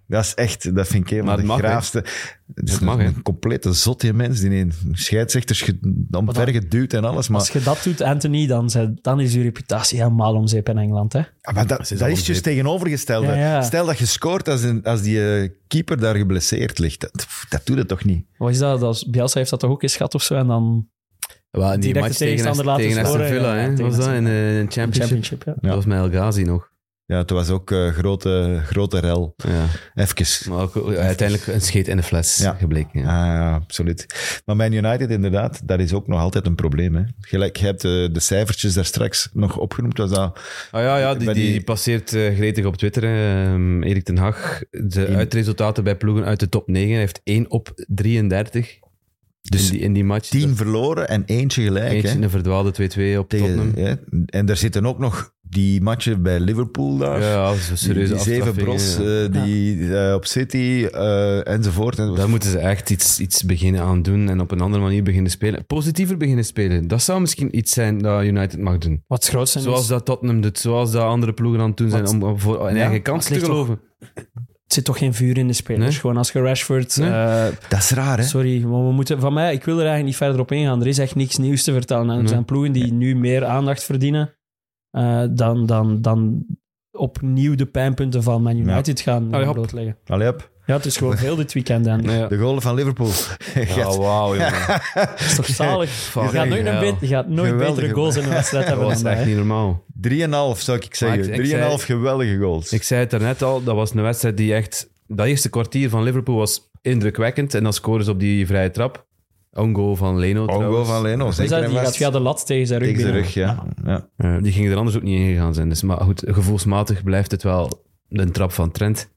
Dat is echt, dat vind ik een
Maar
van de
het mag, hè?
graafste. Het is
Het mag, hè?
een complete zot, die mens die in scheidsrechters ge- omver geduwd en alles. Maar
Als je dat doet, Anthony, dan, zijn- dan is je reputatie helemaal om zeep in Engeland. Hè?
Ja, maar dat,
is
dat
al
is
een
dus
zeep.
tegenovergestelde.
Ja, ja.
Stel dat je scoort als, een- als die eh, keeper daar geblesseerd ligt. Dat, dat doet het toch niet?
Wat is dat? dat is- Bielsa heeft dat toch ook eens gehad of zo? En dan
Wel, in die
Directe
match tegen,
tegenstander
Aston-
laten
tegen
scoren,
Aston
ja,
Villa, hè?
tegen
was dat
Aston
in de
de
championship?
championship. Ja.
Dat was met El Ghazi nog.
Ja, het was ook eh, grote, grote rel.
Ja.
Even.
Maar ook, eh, uiteindelijk een scheet in de fles
Ja.
gebleken.
Ja,
Ja.
ja, absoluut. Maar Man United, inderdaad, dat is ook nog altijd een probleem. Hè? Gelijk, je hebt eh, de cijfertjes daar straks nog opgenoemd. Was dat
Ah, ja, ja die,
Bij die-
die, die passeert eh, gretig op Twitter. hè. Ehm, Erik ten Hag. De uitresultaten bij ploegen uit de top 9. Hij heeft 1 op 33. Dus
Dus
in die, in die match.
tien verloren en eentje gelijk.
Eentje
hè?
een verdwaalde 2-2 op Tottenham.
Tegen, hè? En daar zitten ook nog die matchen bij Liverpool daar.
Ja, dat is een
Die,
serieuze
die zeven
afstraffing,
bros
ja.
eh, die eh, op City eh, enzovoort. En-
Daar moeten ze echt iets, iets beginnen aan doen en op een andere manier beginnen spelen. Positiever beginnen spelen. Dat zou misschien iets zijn dat United mag doen.
Wat groot zijn
Zoals
is-
dat Tottenham doet, zoals dat andere ploegen aan het doen zijn
Wat-
om om voor een
Ja,
eigen kans
het
te
ligt toch-
geloven.
Het zit toch geen vuur in de spelers.
Nee.
Gewoon als je Rashford...
Nee.
eh,
Dat is raar, hè?
sorry, maar we moeten, van mij, ik wil er eigenlijk niet verder op ingaan. Er is echt niks nieuws te vertellen. En er
Nee.
zijn ploegen die nu meer aandacht verdienen eh, dan, dan, dan opnieuw de pijnpunten van Man United gaan
Allee,
eh,
hop.
blootleggen.
Allee, op.
Ja, het is gewoon veel dit weekend. En
Ja,
De goal van Liverpool. Gert,
wauw, jongen.
dat is toch zalig. Je gaat nooit, een
hell.
bet- je gaat nooit
Geweldige
betere goals in een wedstrijd
Dat
hebben dan
was
dat.
echt
hè.
niet normaal.
3,5 zou ik
Maar ik-
zeggen.
ik
3,5 geweldige goals.
Ik zei het daarnet al, dat was een wedstrijd die echt... Dat eerste kwartier van Liverpool was indrukwekkend en dan scoren ze op die vrije trap. Ongo van Leno
Ongo
trouwens.
van Leno,
Dus
zeker
dat-
en
die gaat
vast.
via de lat tegen zijn rug
Tegen zijn
binnen.
rug, ja. ja.
Eh, die gingen er anders ook niet in gegaan zijn. Dus, maar goed, gevoelsmatig blijft het wel een trap van Trent.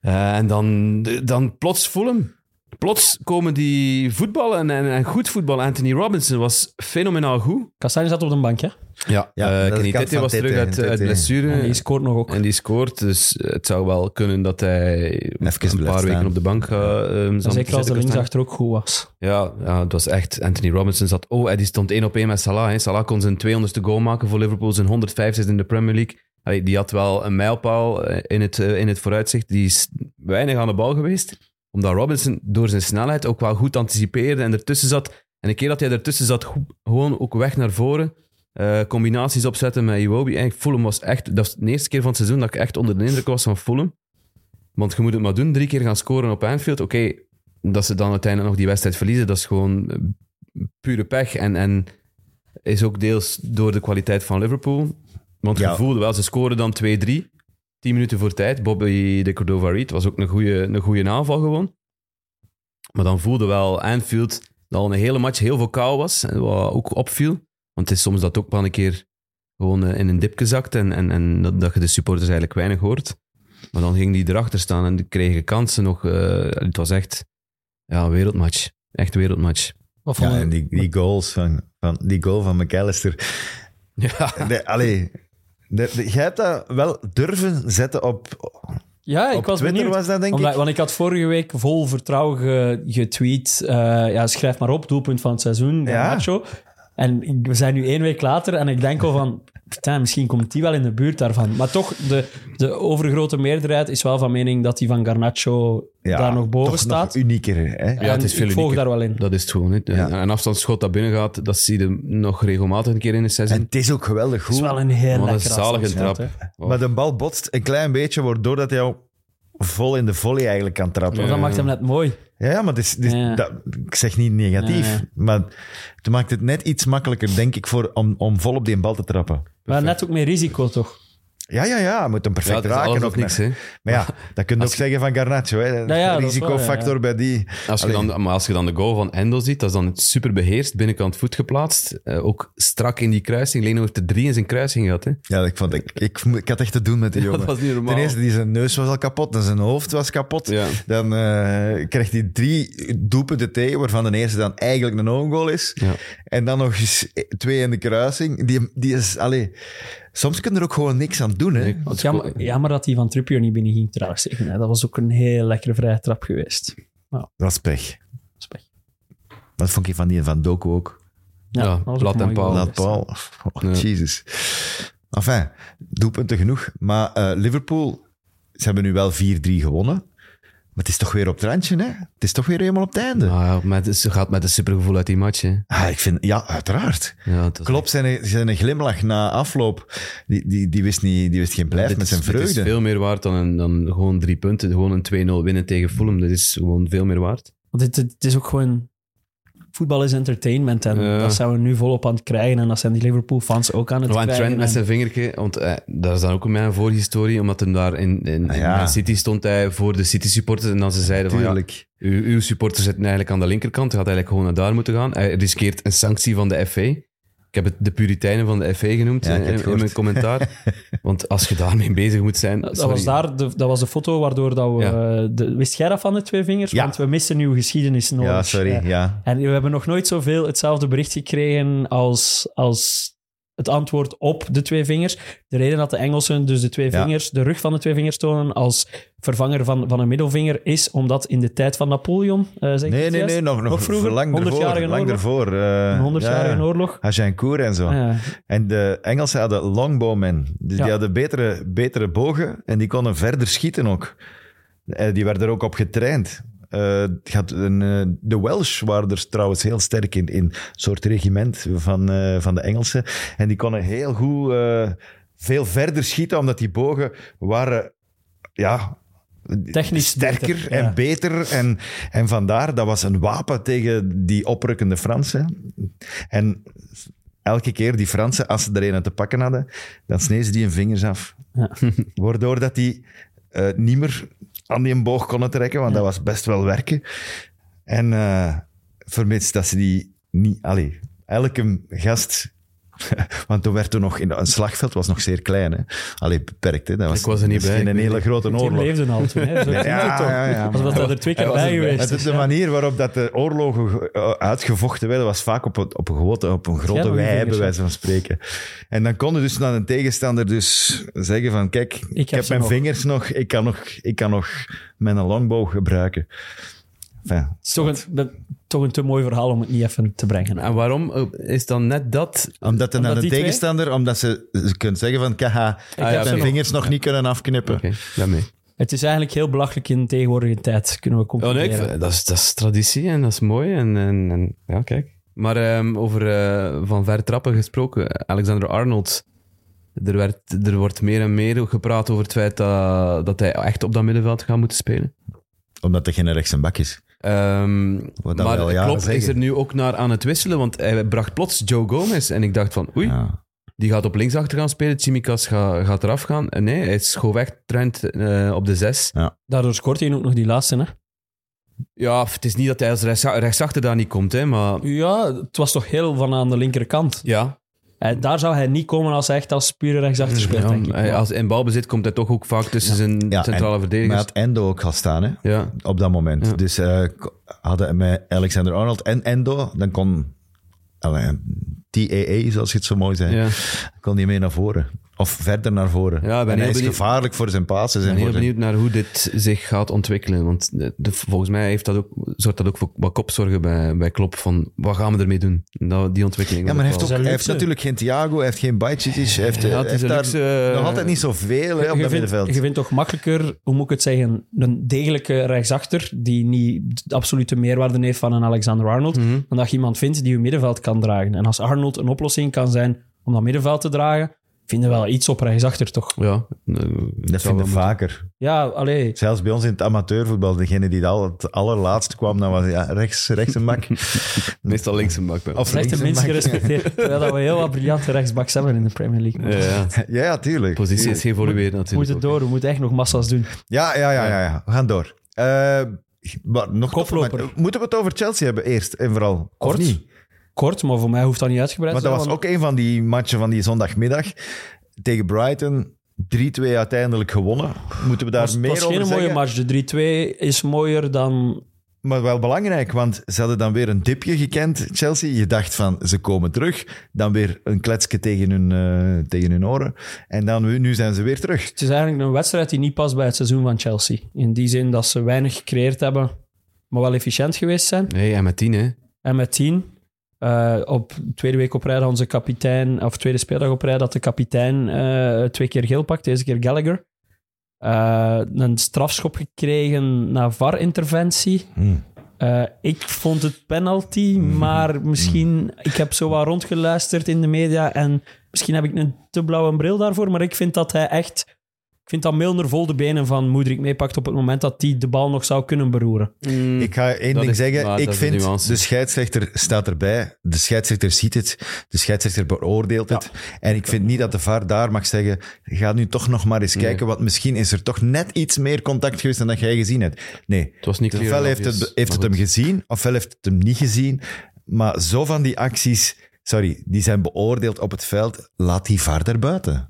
Eh, en dan, dan plots Fulham. Plots komen die voetballen en, en, en goed voetbal. Anthony Robinson was fenomenaal goed.
Kastanje zat op de bank, hè?
Ja,
Ja, dat is de
ja
kant van
was terug
Tete,
uit, uit
Tete.
blessure.
En die scoort nog ook.
En die scoort, dus het zou wel kunnen dat hij
blijft
een paar
staan.
weken op de bank gaat. ehm, zal
Zeker als de
zitten staan.
linksachter ook goed was.
Ja, ja, het was echt. Anthony Robinson zat. Oh, en die stond één op één met Salah. Hè. Salah kon zijn 200ste goal maken voor Liverpool, zijn 150ste in de Premier League. Allee, die had wel een mijlpaal eh, in het, eh, in het vooruitzicht. Die is weinig aan de bal geweest. Omdat Robinson door zijn snelheid ook wel goed anticipeerde en ertussen zat. En een keer dat hij ertussen zat, goed- gewoon ook weg naar voren. eh, combinaties opzetten met Iwobi. Eigenlijk, Fulham was echt... Dat was de eerste keer van het seizoen dat ik echt onder de indruk was van Fulham. Want je moet het maar doen. Drie keer gaan scoren op Anfield. Oké, dat ze dan uiteindelijk nog die wedstrijd verliezen, dat is gewoon eh, pure pech. En, en is ook deels door de kwaliteit van Liverpool. Want je
Ja.
voelde wel, ze scoren dan 2-3. 10 minuten voor tijd. Bobby de Cordova Reed was ook een goede, een goede aanval gewoon. Maar dan voelde wel Anfield dat al een hele match heel veel kou was. En wat ook opviel. Want het is soms dat ook wel een keer gewoon eh, in een dip gezakt. En, en, en dat, dat je de supporters eigenlijk weinig hoort. Maar dan ging die erachter staan en die kregen kansen nog. eh, het was echt ja, een wereldmatch. Echt wereldmatch.
Wat
Ja,
vonden-
en die, die, goals van, van, die goal van McAllister.
Ja.
De, allee, de- de- jij hebt dat wel durven zetten op,
ja ik
op
was
Twitter,
benieuwd.
was dat denk
Omdat-
ik?
Want ik had vorige week vol vertrouwen ge- getweet. eh, ja, schrijf maar op, doelpunt van het seizoen,
Ja.
ja. Nacho. En ik- we zijn nu één week later en ik denk al van... "Tja, misschien komt die wel in de buurt daarvan. Maar toch, de, de overgrote meerderheid is wel van mening dat die van Garnacho
Ja,
daar nog boven
toch
staat.
unieker, hè?
Ja, het is veel ik volg
unieker.
daar wel in.
Dat is het gewoon. Hè.
Ja.
Een afstandsschot dat binnen gaat, dat zie je nog regelmatig een keer in de
En
seizoen.
het is ook geweldig
Het
goed.
is wel een heel
Wat een
lekker
zalige
afstandsschot,
trap.
hè.
Wow.
Maar de bal botst een klein beetje, waardoor dat hij jou vol in de volley eigenlijk kan trappen.
Maar dat maakt hem net mooi.
Ja, ja, maar het is- het is-
Ja.
dat, ik zeg niet negatief,
Ja, ja.
maar het maakt het net iets makkelijker, denk ik, voor, om, om vol op die bal te trappen.
Maar net ook meer risico, toch?
Ja, ja, ja, hij moet hem
Ja,
perfect
dat is
raken.
alles
Ook
of niks.
naar-
Hè.
Maar ja, dat kun je ook zeggen van Garnacho. Hè.
ja, dat is
Risicofactor
waar, ja.
bij die.
Als je dan, maar als je dan de goal van Endo ziet, dat is dan super beheerst, binnenkant voet geplaatst. Eh, ook strak in die kruising. Leno heeft er drie in zijn kruising gehad. Hè.
Ja, ik, vond, ik, ik, mo- ik had echt te doen met die jongen.
dat was niet normaal.
Ten eerste, die zijn neus was al kapot, dan zijn hoofd was kapot.
Ja.
Dan eh kreeg hij drie doelpunten tegen, waarvan de eerste dan eigenlijk een own goal is.
Ja.
En dan nog eens twee in de kruising. Die, die is, allee, soms kun je er ook gewoon niks aan doen. Hè?
Nee,
Want
dat is
jammer,
cool.
jammer dat die van Trippier niet binnen ging, trouwens. zeggen, hè. Dat was ook een heel lekkere vrije trap geweest.
Dat is pech.
Spech.
Dat vond ik van die van Doku ook.
Ja,
dat was ook
plat
een
en
mooie goal.
paal.
Laat Paul. Oh,
Ja.
Jezus. Enfin, doelpunten genoeg. Maar eh, Liverpool, ze hebben nu wel 4-3 gewonnen. Maar het is toch weer op het randje, hè? Het is toch weer helemaal op het einde.
Ah, ja, met, ze gaat met een supergevoel uit die match. Hè.
Ah, ik vind, ja, uiteraard.
Ja, het was-
Klopt, zijn, zijn een glimlach na afloop, die, die, die, wist, niet, die wist geen blijf
dit
met
is-
zijn
dit is
vreugde.
veel meer waard dan, een- dan gewoon drie punten. Gewoon een 2-0 winnen tegen Fulham. Dat is gewoon veel meer waard.
Want het, het is ook gewoon... Voetbal is entertainment en
Ja.
dat zijn we nu volop aan het krijgen. En dat zijn die Liverpool-fans ook aan het
Van
krijgen.
Trent met
en-
zijn vingertje, want eh, daar is dan ook een voorhistorie, omdat hem daar in, in,
Ah,
in
ja.
Man City stond hij voor de City-supporters en dan ze zeiden van ja,
Tuurlijk.
uw, uw supporters zitten eigenlijk aan de linkerkant, hij had eigenlijk gewoon naar daar moeten gaan. Hij riskeert een sanctie van de FA. Ik heb het de Puriteinen van de FA genoemd
Ja, ik
eh,
heb het
in, in mijn commentaar. want als je daarmee bezig moet zijn...
Dat
sorry.
was, daar de, dat was de foto waardoor dat we... eh,
Ja.
de- wist jij dat van de twee vingers?
Ja.
Want we missen uw geschiedenis Eh, nodig.
Ja, sorry. Ja.
En we hebben nog nooit zoveel hetzelfde bericht gekregen als, als het antwoord op de twee vingers. De reden dat de Engelsen dus de twee
Ja.
vingers, de rug van de twee vingers tonen als vervanger van, van een middelvinger, is omdat in de tijd van Napoleon, eh, zeg ik
Nee,
het
nee,
juist?
nee, nog, nog,
vroeger,
lang
100
ervoor.
jarige
Lang
oorlog.
ervoor. eh,
een 100-jarige oorlog.
Agincourt en zo.
Ja.
En de Engelsen hadden longbowmen. Dus
Ja.
die hadden betere, betere bogen en die konden verder schieten ook. Eh, die werden er ook op getraind. Eh, het gaat een, eh, de Welsh waren er trouwens heel sterk in, in een soort regiment van, eh, van de Engelsen. En die konden heel goed eh, veel verder schieten, omdat die bogen waren ja,
Technisch
sterker
beter,
en
ja.
beter. En, en vandaar, dat was een wapen tegen die oprukkende Fransen. En elke keer die Fransen, als ze er een te pakken hadden, dan sneden ze die hun vingers af.
Ja.
Waardoor dat die eh, niet meer aan die boog konden trekken, want dat was best wel werken. En eh vermits dat ze die niet... Allee, elke gast... Want toen werd er nog... In, een slagveld was nog zeer klein, hè. Allee, beperkt, hè. Dat was,
Ik was er niet
dat is
bij,
geen
ik weet
hele grote
Toen
oorlog.
leefden al toen. Hè. Zo
Ja,
klinkt het toch.
ja, ja,
Als we
maar-
dat er twee keer
Hij was
bij
erbij.
Het
geweest
is
is.
de
ja.
manier waarop dat de oorlogen eh, uitgevochten werden, was vaak op, een- op, een, grote, op een grote
nog niet
wei, bij
vingers,
wijze van spreken. En dan kon je dus naar een tegenstander dus zeggen van, kijk, ik,
heb
heb,
ze
mijn
nog.
vingers nog ik, kan nog, ik kan nog mijn longbow gebruiken. Enfin,
Het is toch een, dat- toch een te mooi verhaal om het niet even te brengen.
En waarom eh, is dan net dat...
omdat er naar
Omdat
een
die twee-
tegenstander, omdat ze, ze kunnen zeggen van, kaha, ik
heb
heb
ze
mijn
nog.
vingers nog niet kunnen afknippen.
Oké, daarmee.
Het is eigenlijk heel belachelijk in tegenwoordige tijd, kunnen we
Oh, nee,
concluderen.
ik vind- dat, is, dat is traditie en dat is mooi. En, en, en- ja, kijk. Maar ehm, over eh, van ver trappen gesproken, Alexander Arnold. Er, werd, er wordt meer en meer gepraat over het feit dat, dat hij echt op dat middenveld gaat moeten spelen.
Omdat er geen rechts bak is.
Ehm,
Wat dat
maar
wel, ja,
Klopp
zeggen.
is er nu ook naar aan het wisselen, want hij bracht plots Joe Gomez. En ik dacht van, oei,
Ja.
die gaat op linksachter gaan spelen, Tsimikas ga, gaat eraf gaan. En nee, hij schoof echt Trent eh, op de zes.
Daardoor scoort hij ook nog die laatste, hè?
Ja, het is niet dat hij als rechtsa- rechtsachter daar niet komt, hè, maar
Ja, het was toch heel van aan de linkerkant.
ja,
Eh, daar zou hij niet komen als hij echt als pure rechtsachter speelt,
Ja,
denk ik.
hij- als hij in balbezit komt hij toch ook vaak tussen zijn
Ja,
centrale
en- Maar
verdedigers.
had Endo ook gaan staan, hè?
Ja.
Op dat moment. Dus eh, k- hadden met Alexander Arnold en Endo, dan kon allee, TAA, zoals je het zo mooi zei,
Ja.
kon hij mee naar voren. Of verder naar voren.
ben heel
en hij is
benieuwd-
gevaarlijk voor zijn passes.
Ik
en
ben heel
voor zijn-
benieuwd naar hoe dit zich gaat ontwikkelen. Want de- de- volgens mij heeft dat ook, zorgt dat ook voor wat kopzorgen bij, bij Klopp. Van, wat gaan we ermee doen? Dat, die ontwikkeling.
Ja, maar hij heeft,
Dat
ook,
wel-
hij heeft
luxe.
natuurlijk geen Thiago, hij heeft geen Bajcic, hij heeft,
Ja,
hij
het is
heeft
een
daar
luxe, eh,
nog altijd niet zoveel hè, op
je,
dat
vindt,
middenveld.
je vindt toch makkelijker, hoe moet ik het zeggen, een degelijke rechtsachter die niet de absolute meerwaarde heeft van een Alexander Arnold,
Mhm.
dan dat je iemand vindt die je middenveld kan dragen. En als Arnold een oplossing kan zijn om dat middenveld te dragen, vinden we wel iets op rechtsachter, toch?
Ja, eh,
dat vinden we
vaak.
vaker.
Ja, allee.
Zelfs bij ons in het amateurvoetbal, degene die al het allerlaatste kwam, dan was ja, rechts, rechts een mak.
Meestal links een bak.
Of
Slechte
links een
mensen
mak.
gerespecteerd. Terwijl dat we heel wat briljante rechtsbacks hebben in de Premier League.
Ja, ja.
Ja, ja, tuurlijk.
Positie is geëvolueerd natuurlijk.
We moeten
ook.
door, we moeten echt nog massa's doen.
Ja, ja, ja, ja, ja. We gaan door. Eh, maar nog
Koploper.
toffe match. Moeten we het over Chelsea hebben eerst en vooral? Of
Kort.
niet?
Kort, maar voor mij hoeft dat niet uitgebreid
Maar
te
dat
zijn.
was ook een van die matchen van die zondagmiddag tegen Brighton. 3-2 uiteindelijk gewonnen. Moeten we daar
Het
meer
was
over
geen mooie
zeggen?
match. De 3-2 is mooier dan
Maar wel belangrijk, want ze hadden dan weer een dipje gekend, Chelsea. Je dacht van, ze komen terug. Dan weer een kletsje tegen hun, eh, tegen hun oren. En dan, nu- nu zijn ze weer terug.
Het is eigenlijk een wedstrijd die niet past bij het seizoen van Chelsea. In die zin dat ze weinig gecreëerd hebben, maar wel efficiënt geweest zijn.
Nee, en met tien, hè.
En met tien, eh, op tweede week op rij dat onze kapitein, of tweede speeldag op rij, dat de kapitein eh, twee keer geel pakt, deze keer Gallagher. Eh, een strafschop gekregen na VAR-interventie. Eh, ik vond het penalty, maar misschien... Ik heb zo wat rondgeluisterd in de media en misschien heb ik een te blauwe bril daarvoor, maar ik vind dat hij echt... Ik vind dat Milner vol de benen van Moedrik meepakt op het moment dat hij de bal nog zou kunnen beroeren.
Ik ga één
Hm. Dat
ding
is-
zeggen.
maar
Ik
dat is een
vind,
nuance.
de scheidsrechter staat erbij. De scheidsrechter ziet het. De scheidsrechter beoordeelt het. En ik vind niet dat de VAR daar mag zeggen... Ga nu toch nog maar eens kijken, want misschien is er toch net iets meer contact geweest dan dat jij gezien hebt. Nee.
Het was niet clear
ofwel
and
heeft het,
obvious,
heeft het
maar
hem
goed.
gezien, ofwel heeft het hem niet gezien. Maar zo van die acties... Sorry, die zijn beoordeeld op het veld. Laat die VAR daarbuiten.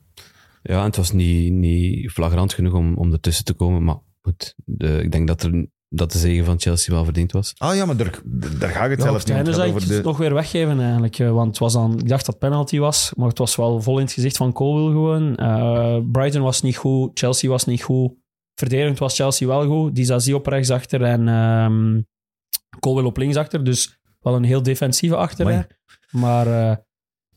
Ja, en het was niet, niet flagrant genoeg om, om ertussen te komen. Maar goed, de, ik denk dat, er, dat de zegen van Chelsea wel verdiend was.
Ah ja, maar daar, daar ga ik het zelf niet om.
En
Het gaat
dus zou ik
over
het
de-
nog weer weggeven eigenlijk. eh, Want het was dan, ik dacht dat het penalty was, maar het was wel vol in het gezicht van Colwell gewoon. Eh, Brighton was niet goed, Chelsea was niet goed. Verdedigend was Chelsea wel goed. Dizazi op rechtsachter en ehm Colwell op linksachter. Dus wel een heel defensieve achterrij. Maar, eh,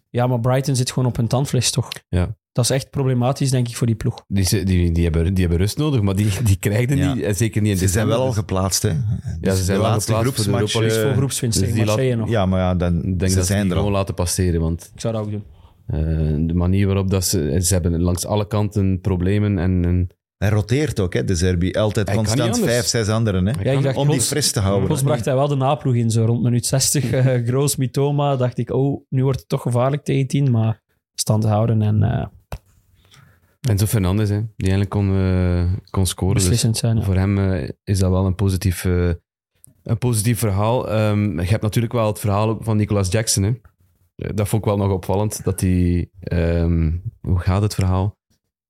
ja, maar Brighton zit gewoon op hun tandvlees toch?
Ja.
Dat is echt problematisch, denk ik, voor die ploeg.
Die, ze- die, die, hebben, die hebben rust nodig, maar die, die krijgen die
Ja.
niet. En zeker niet in
Ze zijn
december.
wel al geplaatst, hè.
Ja, ze zijn
de
wel
laatste
geplaatst voor de
groepsmatch,
Europa League.
eh,
Voor groepswinst
dus
tegen
die
Marseille
laat-
nog.
Ja, maar ja, dan,
Ik denk
ze
dat ze
zijn
die
er
gewoon
al.
laten passeren. Want
Ik zou dat ook doen.
eh, de manier waarop dat ze... Ze hebben langs alle kanten problemen en... en
Hij roteert ook, hè, de Serbi. Altijd
Hij kan
constant
niet anders.
vijf, zes anderen. Hè,
Ja, ik dacht,
om die
plots-
fris te houden.
Plots bracht hij wel de naploeg in, zo rond minuut 60. eh Groos, Mitoma, dacht ik, oh, nu wordt het toch gevaarlijk tegen 10, maar stand houden en eh,
en zo Fernandes, hè, die eigenlijk kon, eh, kon scoren. Dus
beslissend zijn. ja.
voor hem eh, is dat wel een positief, eh, een positief verhaal. Ehm, je hebt natuurlijk wel het verhaal ook van Nicolas Jackson. Hè. Eh, Dat vond ik wel nog opvallend. Dat hij, ehm, hoe gaat het verhaal?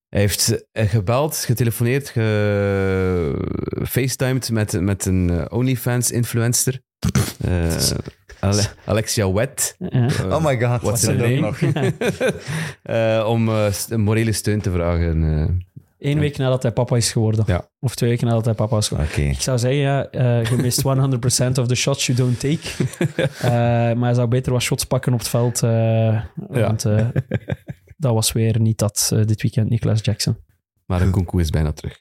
Hij heeft eh, gebeld, getelefoneerd, ge... facetimed met, met een eh, OnlyFans-influencer. Eh, Ale- Alexia Wet.
Ja.
Eh,
Oh my god,
What's
dat
her
ook
name?
nog.
eh, om eh, st- morele steun te vragen. eh.
Eén week nadat hij papa is geworden.
Ja.
Of twee weken nadat hij papa is geworden.
Oké.
Ik zou zeggen, ja, eh, je mist 100% of the shots you don't take. Eh, maar hij zou beter wat shots pakken op het veld. eh, Want eh, dat was weer niet dat eh, dit weekend, Nicolas Jackson.
Maar een Kunku is bijna terug.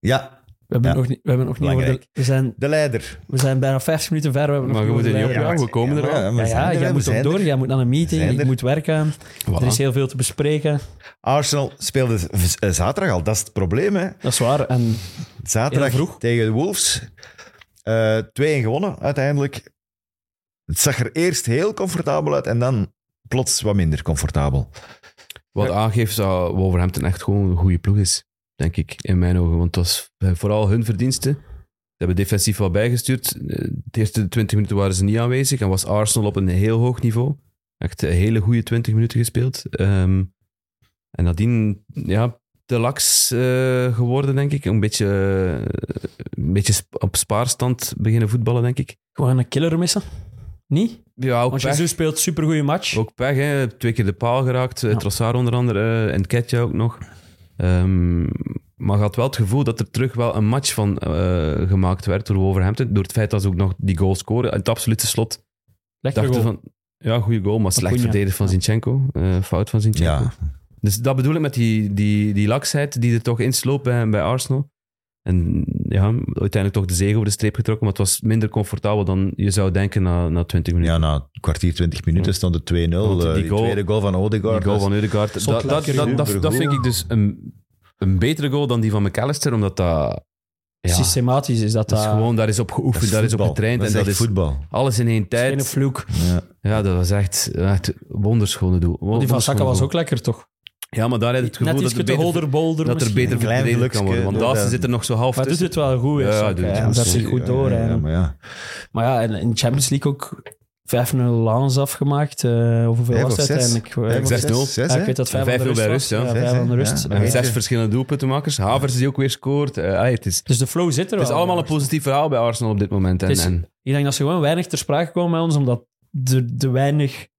Ja,
We hebben
Ja.
nog niet... We, hebben nog niet over de-
Belangrijk.
we, zijn,
de leider.
we zijn bijna 50 minuten ver. We hebben
Maar
nog
we moeten niet
over de-
ophouden. we komen er wel.
maar
Ja,
we zijn
ja
er,
jij
we
moet
zijn
op
er.
door, jij moet naar een meeting,
zijn
ik
er.
moet werken. Er is heel veel te bespreken.
Arsenal speelde v- eh, zaterdag al. Dat is het probleem, hè.
Dat is waar. En
Zaterdag
Heel vroeg.
tegen de Wolves. Eh 2-1 gewonnen, uiteindelijk. Het zag er eerst heel comfortabel uit en dan plots wat minder comfortabel.
Wat aangeeft dat Wolverhampton echt gewoon een goede ploeg is, denk ik, in mijn ogen. Want het was eh, vooral hun verdiensten. Ze hebben defensief wel bijgestuurd. Eh, De eerste 20 minuten waren ze niet aanwezig en was Arsenal op een heel hoog niveau. Echt een hele goede 20 minuten gespeeld. Ehm, en nadien, ja, te laks eh, geworden, denk ik. Een beetje, eh, een beetje sp- op spaarstand beginnen voetballen, denk ik.
Gewoon een killer missen. Niet?
Ja, ook
Want
pech.
Jezus speelt supergoeie match.
Ook pech, hè. twee keer de paal geraakt. eh,
Ja.
Trossard onder andere eh, en Ketja ook nog. Ehm, maar je had wel het gevoel dat er terug wel een match van eh, gemaakt werd door Wolverhampton. Door het feit dat ze ook nog die goal scoren. En het absolute slot
Lekker
dachten
goal.
van... Ja, goede goal, maar slecht
Cunha.
verdedigd van
Ja.
Zinchenko. Eh, fout van Zinchenko.
Ja.
Dus dat bedoel ik met die, die, die laksheid die er toch insloopt bij, bij Arsenal. En ja, uiteindelijk toch de zege over de streep getrokken. Maar het was minder comfortabel dan je zou denken na, na 20 minuten.
Ja, na een kwartier, twintig minuten stond het 2-0.
Want
eh,
die
die
goal-
tweede goal van Odegaard.
Die goal
dat
van
is-
Ødegaard. Dat,
Schot
dat, dat,
lekker goed,
dat, dat
goed.
vind ik dus een, een betere goal dan die van McAllister, omdat dat... Ja, dat
Systematisch is dat, eh,
is
daar.
gewoon, daar is op geoefend, daar is op
voetbal.
getraind.
Dat is
en
echt
dat is
voetbal.
alles in één tijd.
geen vloek.
Ja, dat was echt, echt wonderschone doel.
Die van
Wonderschone
Saka was
goal.
ook lekker, toch?
Ja, maar daar heb je het
Net
gevoel dat
iets
er
te
beter,
holder, bolder
dat er
misschien.
beter
klein
verdedigd kan worden. Want
gelukske,
Daassen
ja.
zit er nog zo half
Maar doet
tussen.
het wel goed,
Ja,
hè, Saka,
doet het
hè.
wel
Zet zich
sorry,
goed
ja,
door.
ja,
hè.
ja, maar ja.
Maar ja, en in Champions League ook 5-0 Lans afgemaakt. eh of hoeveel
Vijf
was
of
het
zes?
uiteindelijk?
Vijf of
zes, nul.
zes,
eh, Ja,
hè?
ik weet dat 5
Vijf
aan de
nul bij
rust
rust,
was.
ja.
Ja, vijf
Zes,
aan de
hè?
rust.
Ja.
Ja.
En
Weet
zes
je.
verschillende doelpuntenmakers. Havers die ook weer scoort. Eh, ah, het, is,
Dus de flow zit er
het is
wel.
allemaal een positief verhaal bij Arsenal op dit moment. En,
Het is-
en,
Ik denk dat ze gewoon weinig ter sprake komen bij ons, omdat de, de weinig...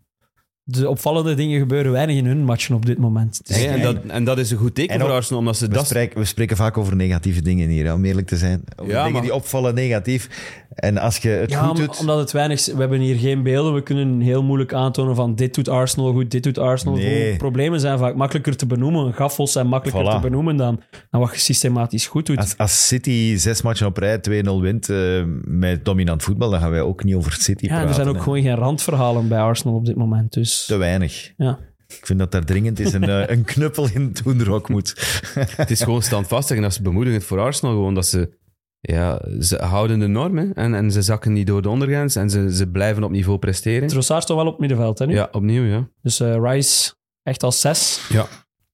De opvallende dingen gebeuren weinig in hun matchen op dit moment. Het is
Hey, en, dat, en dat is een goed teken
En
voor
ook-
Arsenal, omdat ze
We,
dat...
spreken, we spreken vaak over negatieve dingen hier, hè, om eerlijk te zijn. Over
Ja,
dingen
maar-
die opvallen negatief. En als je het
Ja,
goed
om-
doet...
omdat het weinig... We hebben hier geen beelden. We kunnen heel moeilijk aantonen van dit doet Arsenal goed, dit doet Arsenal
Nee.
goed. Problemen zijn vaak makkelijker te benoemen. Gaffels zijn makkelijker
Voilà.
te benoemen dan, dan wat je systematisch goed doet.
Als, als City zes matchen op rij 2-0 wint eh, met dominant voetbal, dan gaan wij ook niet over City
ja, en
praten.
er zijn ook
hè.
gewoon geen randverhalen bij Arsenal op dit moment. Dus
Te weinig.
ja.
Ik vind dat daar dringend is een, eh, een knuppel in het hoenderhok moet.
Het is gewoon standvastig en dat is bemoedigend voor Arsenal. Gewoon dat ze... Ja, ze houden de normen en, en ze zakken niet door de ondergrens en ze, ze blijven op niveau presteren.
Trossard toch wel op het middenveld, hè, nu?
Ja, opnieuw, ja.
Dus eh, Rice echt als zes.
Ja.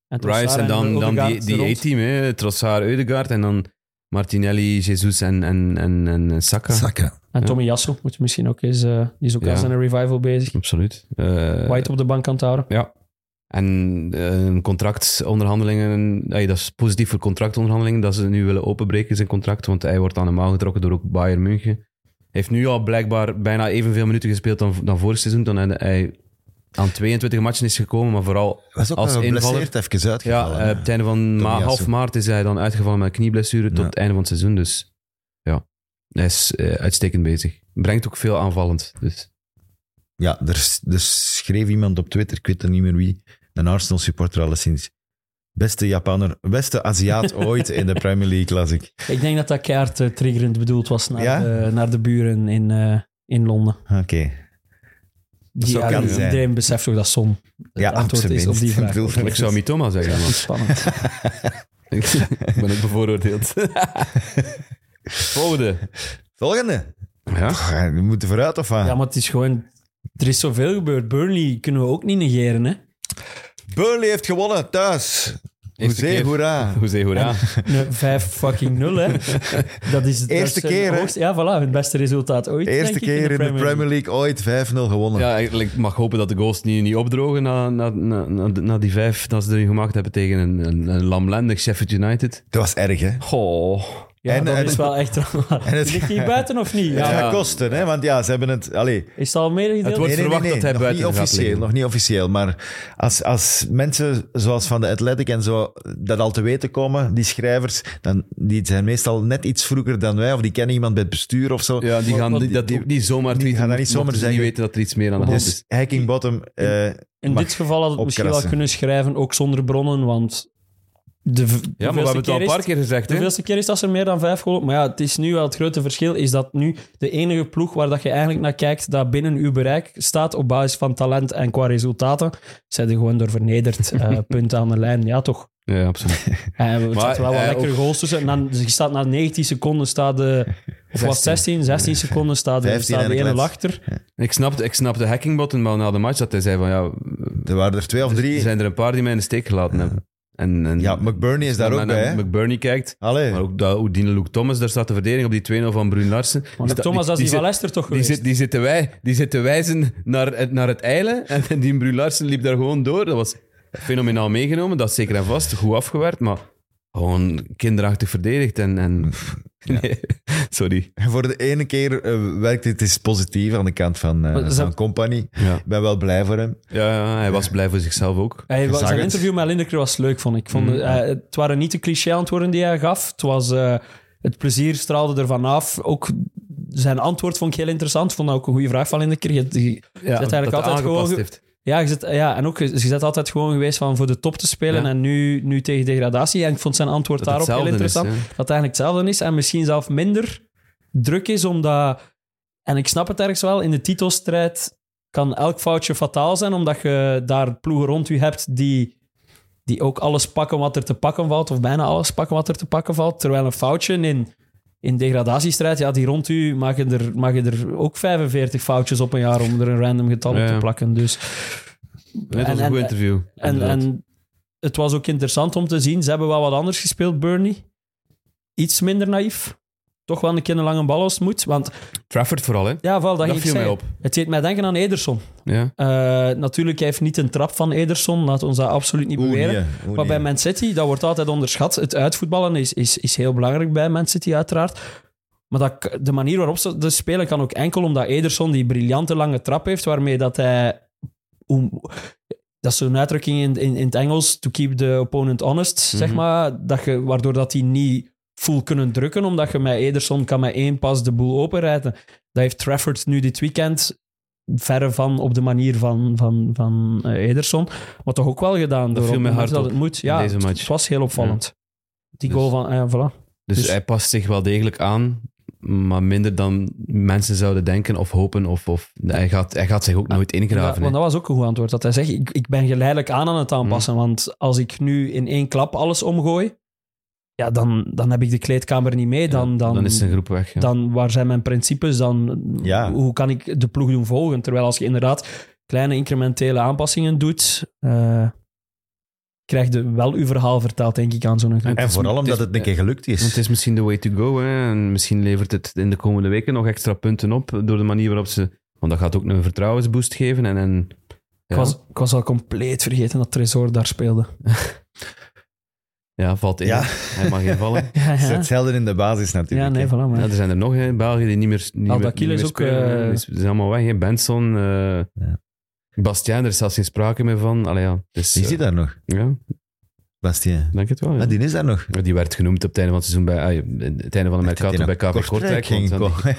En Trossard
Rice en dan, dan die,
Odegaard er
die
rond.
A-team, hè. Trossard, Eudegaard en dan Martinelli, Jesus en, en, en, en Saka.
Zakken.
En Tommy Jasso moet je misschien ook eens... eh, die is ook
Ja.
al zijn revival bezig.
Absoluut. Eh,
White op de bank aan het houden.
Ja. En eh, contractonderhandelingen, eh, dat is positief voor contractonderhandelingen, dat ze nu willen openbreken zijn contract, want hij wordt aan de mouw getrokken door ook Bayern München. Hij heeft nu al blijkbaar bijna evenveel minuten gespeeld dan, dan vorig seizoen, toen hij, hij aan 22 matchen is gekomen, maar vooral
Was ook
als
wel
invaller.
geblesseerd even
Ja,
uitgevallen.
eh, op het einde van ma-
Tomiyasu.
half maart is hij dan uitgevallen met een knieblessure tot
Ja.
het einde van het seizoen, dus ja, hij is eh, uitstekend bezig. Brengt ook veel aanvallend, dus
Ja, er, s- er schreef iemand op Twitter, ik weet dan niet meer wie, een Arsenal supporter alleszins. Beste Japaner, beste Aziat ooit in de Premier League, las ik.
Ik denk dat dat keihard eh, triggerend bedoeld was naar,
Ja?
de, naar de buren in, eh, in Londen.
Oké.
Die,
zou
ja,
kunnen zijn.
iedereen beseft toch dat som het
Ja,
antwoord is
absoluut.
op die vraag.
Ik bedoel,
ik zou Mitoma zeggen, man.
Spannend.
ik ben ook bevooroordeeld. Volgende.
Volgende.
Ja?
Pff, we moeten vooruit of aan?
Ja, maar het is gewoon... Er is zoveel gebeurd. Burnley kunnen we ook niet negeren, hè.
Burnley heeft gewonnen, thuis. Hoezee,
keer.
hoera.
Hoezee, hoera.
Een 5 fucking 0, hè. Dat is het
Eerste
beste-
keer, hè?
hoogste- Ja, voilà. Het beste resultaat ooit,
Eerste
denk ik,
keer in de Premier League ooit 5-0 gewonnen.
Ja, ik ik mag hopen dat de goals niet, niet opdrogen na, na, na, na, na die vijf dat ze erin gemaakt hebben tegen een, een, een lamlendig Sheffield United.
Dat was erg, hè?
Goh.
Ja,
En-
dat
en-
is wel echt...
en het-
Ligt hij buiten of niet? Ja.
Het gaat kosten, hè? Want ja, ze hebben het... Allee,
Is het al meegedeeld?
Het wordt- verwacht dat hij
nog
buiten
niet
gaat
officieel,
liggen.
Nog niet officieel, maar als, als mensen zoals van de Athletic en zo dat al te weten komen, die schrijvers, dan, die zijn meestal net iets vroeger dan wij, of die kennen iemand bij het bestuur of zo.
Ja, die gaan
Want-
die- dat ook niet zomaar
die
tweeten,
gaan dat niet zomaar
mochten ze
zeggen.
niet weten dat er iets meer aan de hand
Dus
is.
Hacking Bottom, eh,
In
mag
dit geval had het misschien wel
opkrassen.
kunnen schrijven, ook zonder bronnen, want... De, v- de
Ja, maar we hebben het al een paar keer gezegd,
De
hè?
veelste keer is dat ze meer dan vijf goals. Maar ja, het is nu wel het grote verschil. Is dat nu de enige ploeg waar dat je eigenlijk naar kijkt. dat binnen uw bereik staat op basis van talent en qua resultaten. zijn er gewoon door vernederd. eh punt aan de lijn. Ja, toch?
Ja, absoluut.
Eh, er
Maar,
zaten wel wat
eh,
lekkere
ook-
goals tussen. En dan, dus je staat na 19 seconden. Staat de, of was 16, 16 seconden. staat de,
15
staat de
en een
ene
klets.
achter.
Ik snapte, ik snapte Hackingbottom wel na de match dat hij zei van ja,
er waren er twee of drie.
er zijn er een paar die mij in de steek gelaten hebben. En, en
Ja, McBurney is daar ook bij, hè?
McBurney kijkt.
Ah,
Allee.
Maar ook dat, hoe die Luke Thomas daar staat te verdedigen op die 2-0 van Bruin Larsen. Die
Want
staat-
Thomas, dat is die
zit-
van Leicester toch
die,
geweest?
zit, die, zitten wij, die zitten wijzen naar het, naar het eilen. En die Bruin Larsen liep daar gewoon door. Dat was fenomenaal meegenomen. Dat is zeker en vast. Goed afgewerkt, maar gewoon kinderachtig verdedigd. En, en... Nee, sorry.
Voor de ene keer eh, werkt het is positief aan de kant van, eh,
Maar ze-
van Company.
Ja.
Ik ben wel blij voor hem.
Ja, ja, hij was blij voor zichzelf ook.
Hij,
zag
zijn
het. Mm.
interview met Lindeker was leuk, vond ik. Vond, eh, het waren niet de cliché-antwoorden die hij gaf. Het, was, eh, het plezier straalde ervan af. Ook zijn antwoord vond ik heel interessant. Vond dat ook een goede vraag van Lindeker. Je, je zet eigenlijk
dat
altijd
aangepast
gewoon... ge-
heeft.
Ja, je zet, ja, en ook, je je zet altijd gewoon geweest van voor de top te spelen
Ja.
en nu, nu tegen degradatie. En ik vond zijn antwoord
Dat het
daarop heel
hetzelfde is,
interessant.
hè.
dat het eigenlijk hetzelfde is en misschien zelf minder druk is, omdat... En ik snap het ergens wel, in de titelstrijd kan elk foutje fataal zijn, omdat je daar ploegen rond u hebt die, die ook alles pakken wat er te pakken valt, of bijna alles pakken wat er te pakken valt, terwijl een foutje in... In degradatiestrijd, ja, die rond u mag je, er, mag je er ook 45 foutjes op een jaar om er een random getal
Ja,
op te
ja.
plakken. Dus
Net
En-
als een
en-
goed interview.
en,
inderdaad.
en het was ook interessant om te zien. Ze hebben wel wat anders gespeeld, Burnley. Iets minder naïef. Toch wel een keer een lange bal als het moet. Want
Trafford vooral, hè?
ja, val, dat,
Dat
ging ik
viel mij
zeggen.
op.
Het deed mij denken aan Ederson.
Ja.
Eh, natuurlijk, hij heeft niet een trap van Ederson. Laat ons dat absoluut niet
Hoe
beweren.
niet, hoe
maar bij
niet.
Man City, dat wordt altijd onderschat. Het uitvoetballen is, is, is heel belangrijk bij Man City, uiteraard. Maar dat, k- de manier waarop ze dus spelen kan ook enkel omdat Ederson die briljante lange trap heeft, waarmee dat hij... hoe- dat is zo'n uitdrukking in, in, in het Engels, to keep the opponent honest,
Mhm.
zeg maar. Dat je, waardoor dat die niet full kunnen drukken, omdat je met Ederson kan met één pas de boel openrijden. Dat heeft Trafford nu dit weekend verre van op de manier van, van, van eh, Ederson, maar toch ook wel gedaan. door
viel
op
mij
het moment
hard
dat
op
het moet. Ja,
deze
het-
match.
Het was heel opvallend. Die
Dus-
goal van... eh, voilà.
Dus,
Dus-
hij past zich wel degelijk aan, maar minder dan mensen zouden denken of hopen. Of, of, hij, gaat, hij gaat zich ook nooit
Ja,
ingraven.
want
hè. Hmm.
dat was ook een goed antwoord. Dat hij zegt, ik, ik ben geleidelijk aan aan het aanpassen. Want als ik nu in één klap alles omgooi, ja, dan, dan heb ik de kleedkamer niet mee. Dan, dan,
is zijn groep weg. ja.
dan waar zijn mijn principes? Dan,
Ja.
Hoe kan ik de ploeg doen volgen? Terwijl als je inderdaad kleine incrementele aanpassingen doet, eh krijg je wel uw verhaal verteld, denk ik, aan zo'n groep.
het
En
is-
vooral
het is-
omdat het een keer gelukt is.
Want het is misschien de way to go. Hè? En misschien levert het in de komende weken nog extra punten op door de manier waarop ze... Want dat gaat ook een vertrouwensboost geven. En, en, ja,
Ik, was, ik was al compleet vergeten dat Tresor daar speelde.
ja, valt in.
Ja.
Hij mag geen vallen.
Ja,
Het is hetzelfde in de basis natuurlijk.
nee,
hè.
voilà. Maar.
Ja, er zijn er nog hè, in België die niet meer, niet meer,
Aldakil
niet meer
is ook,
spelen, hè.
eh,
Die is- die is allemaal weg. Hè. Benson, eh Bastien, er is zelfs geen sprake meer van. Allee, ja, dus,
Is die daar nog,
Ja,
Bastien?
denk het wel. ja.
Ah, die is daar nog.
Die werd genoemd op het einde van het seizoen bij ah, het einde van de mercato bij KV Kortrijk.
ging
want dan-
komen.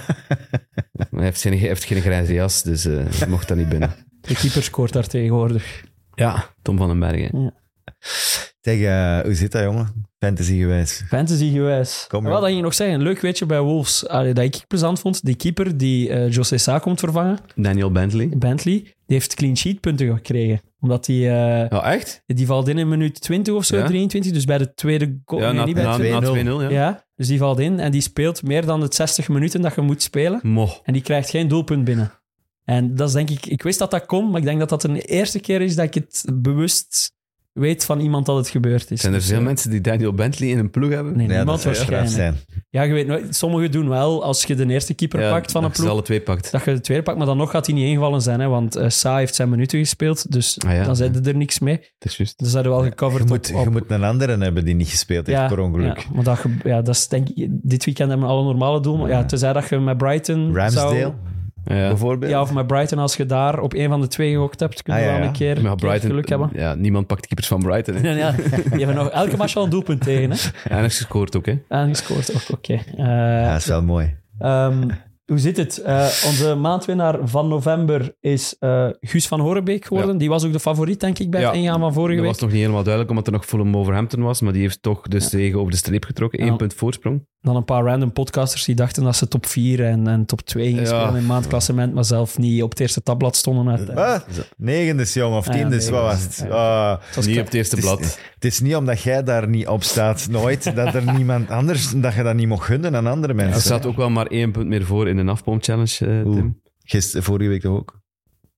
Hij heeft geen, hij heeft geen grijze jas, dus eh, hij mocht dat niet binnen.
De keeper scoort daar tegenwoordig.
Ja, Tom van den Bergen.
Zeg, eh, hoe zit dat, jongen? Fantasy gewijs.
Fantasy-gewijs.
Kom,
Wel,
joh.
dat ging ik nog zeggen. Een leuk weetje bij Wolves. Allee, dat ik plezant vond. Die keeper die eh José Sa komt vervangen,
Daniel Bentley.
Bentley, die heeft clean sheet punten gekregen. Omdat die, eh,
Oh, echt?
die valt in in minuut 20 of zo,
Ja?
23. Dus bij de tweede goal.
Ja,
nee,
na,
niet bij de
na,
tweede.
na 2-0.
2-0.
Ja.
Ja, dus die valt in en die speelt meer dan de 60 minuten dat je moet spelen.
Mo.
En die krijgt geen doelpunt binnen. En dat is denk ik... Ik wist dat dat kon, maar ik denk dat dat de eerste keer is dat ik het bewust weet van iemand dat het gebeurd is.
Zijn er
Dus,
veel
eh,
mensen die Daniel Bentley in een ploeg hebben?
Nee,
Ja, dat
niemand
zou straf
waarschijnlijk.
zijn.
Ja, je weet nooit. Sommigen doen wel, als je de eerste keeper
Ja,
pakt van een
dat ze
ploeg,
alle twee pakt.
dat je de tweede pakt, maar dan nog gaat hij niet ingevallen zijn, hè, want eh, Sa heeft zijn minuten gespeeld, dus
Ah, ja,
dan
ja.
zeiden er niks mee.
Dat is juist.
Dus dat hadden we wel
Je
gecoverd
moet,
op... op-
je moet een andere hebben die niet gespeeld heeft,
ja,
per ongeluk.
Ja, maar dat, ge- ja, dat is denk ik... Dit weekend hebben we alle normale doel, maar ja, tenzij dat je met Brighton
Ramsdale,
zou...
Ja.
bijvoorbeeld.
Ja, of met Brighton, als je daar op een van de twee gehokt hebt, kun je
Ah, ja,
wel
ja.
een keer,
Maar
keer geluk hebben.
Brighton, ja, niemand pakt de keepers van Brighton. hè.
Ja, ja, die hebben nog elke match al een doelpunt tegen, hè.
En hij heeft gescoord ook, hè?
Aangescoord ook, oké. Eh,
Ja, dat is wel mooi.
Ehm, hoe zit het? Eh, onze maandwinnaar van november is eh, Guus van Horenbeek geworden. Die was ook de favoriet, denk ik, bij het
Ja,
ingaan van vorige
Dat
week.
was nog niet helemaal duidelijk, omdat er nog Fulham Wolverhampton was. Maar die heeft toch de zege over de streep getrokken.
Ja.
Eén punt voorsprong.
Dan een paar random podcasters die dachten dat ze top 4 en, en top 2 gingen
Ja.
spelen in maandklassement, maar zelf niet op het eerste tabblad stonden. Uit, eh,
Eh,
Wat? Negendes, Ah, jongen, of
Ah, ja,
tiendes, wat was
negendes,
het? Ah,
Het was
Niet
knap.
op het eerste
het,
blad.
is, het is niet omdat jij daar niet op staat, nooit, dat er niemand anders, dat je dat niet mocht gunnen aan andere mensen.
Er staat ook wel maar één punt meer voor in de afboom challenge, eh,
Oeh.
Tim.
Gisteren, vorige week toch ook?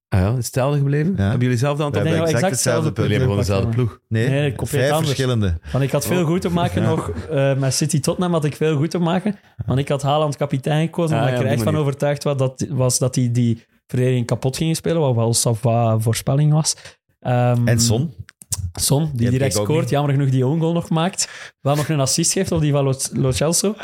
Ah ja, hetzelfde gebleven?
Ja.
Hebben jullie hetzelfde aantal
We
denk
hebben
wel
exact
exact hetzelfde
hetzelfde
punten? Jullie hebben gewoon dezelfde
gepakt,
ploeg.
Nee,
Nee,
vijf
compleet anders.
verschillende.
Want ik had
Oh.
veel goed te maken nog eh, met City Tottenham had ik veel goed te maken. Want ik had Haaland kapitein gekozen
Ah,
omdat
ja,
ik
op
er
die
echt van
manier.
overtuigd was dat, was dat hij die verdediging kapot ging spelen, wat wel Sava voorspelling was. Ehm,
Hmm.
En Son.
Son, die,
heb
direct
ik ook
scoort.
niet.
Jammer genoeg die own goal nog maakt. Wel nog een assist geeft op die van Lo, Lo Celso.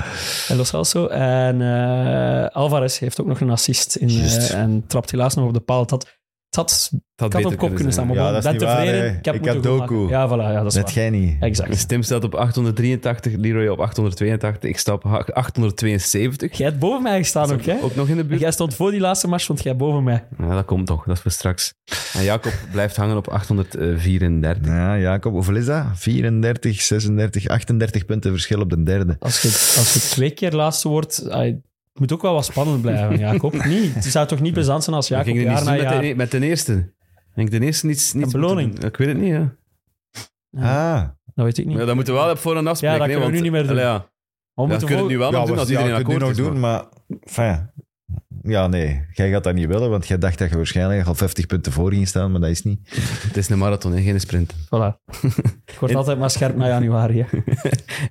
En, Lo Celso. en eh, Alvarez heeft ook nog een assist. In, eh,
Juist.
en trapt helaas nog op de paal. Het had, het had,
Dat
het had op kop kunnen staan, maar
Ja,
bon,
dat is
ben
niet waar,
tevreden.
hè.
ik heb
Ik
moeten
had
goed
Doku.
maken. Ja, voilà, ja, dat is
Net
waar.
jij niet.
Exact.
Stim staat op 883, Leroy op 882, ik sta op 872.
Jij hebt boven mij gestaan ook, hè?
Ook nog in de buurt.
Jij stond voor die laatste match, want jij boven mij.
Ja, dat komt toch, dat is voor straks. En Jacob blijft hangen op 834.
Ja, Jacob, hoeveel is dat? 34, 36, 38 punten verschil op de derde.
Als je, als je twee keer laatste wordt, ai, het moet ook wel wat spannend blijven, Jacob. Niet. Het zou toch niet plezant zijn als
We
Jacob
gingen er
jaar
niets
na
doen
jaar...
met de, e- met de eerste. Ik denk de eerste niets, niets
Een beloning.
moeten doen. Ik weet het niet, ja.
Ah,
Dat weet ik niet.
ja dat moeten we wel op voorhand afspreken.
Ja, dat
hè,
kunnen we
want-
nu niet meer doen.
Allee, ja.
Maar we moeten
Ja, dat kunnen we
voor-
nu wel nog doen
wat-
als iedereen
je kunt
akkoord
het
is.
nu nog doen,
maar-
maar... Enfin, ja, nee. Jij gaat dat niet willen, want jij dacht dat je waarschijnlijk al 50 punten voor ging staan, maar dat is niet.
Het is een marathon, hè, geen sprint.
Voilà. Ik word altijd maar scherp na januari. hè.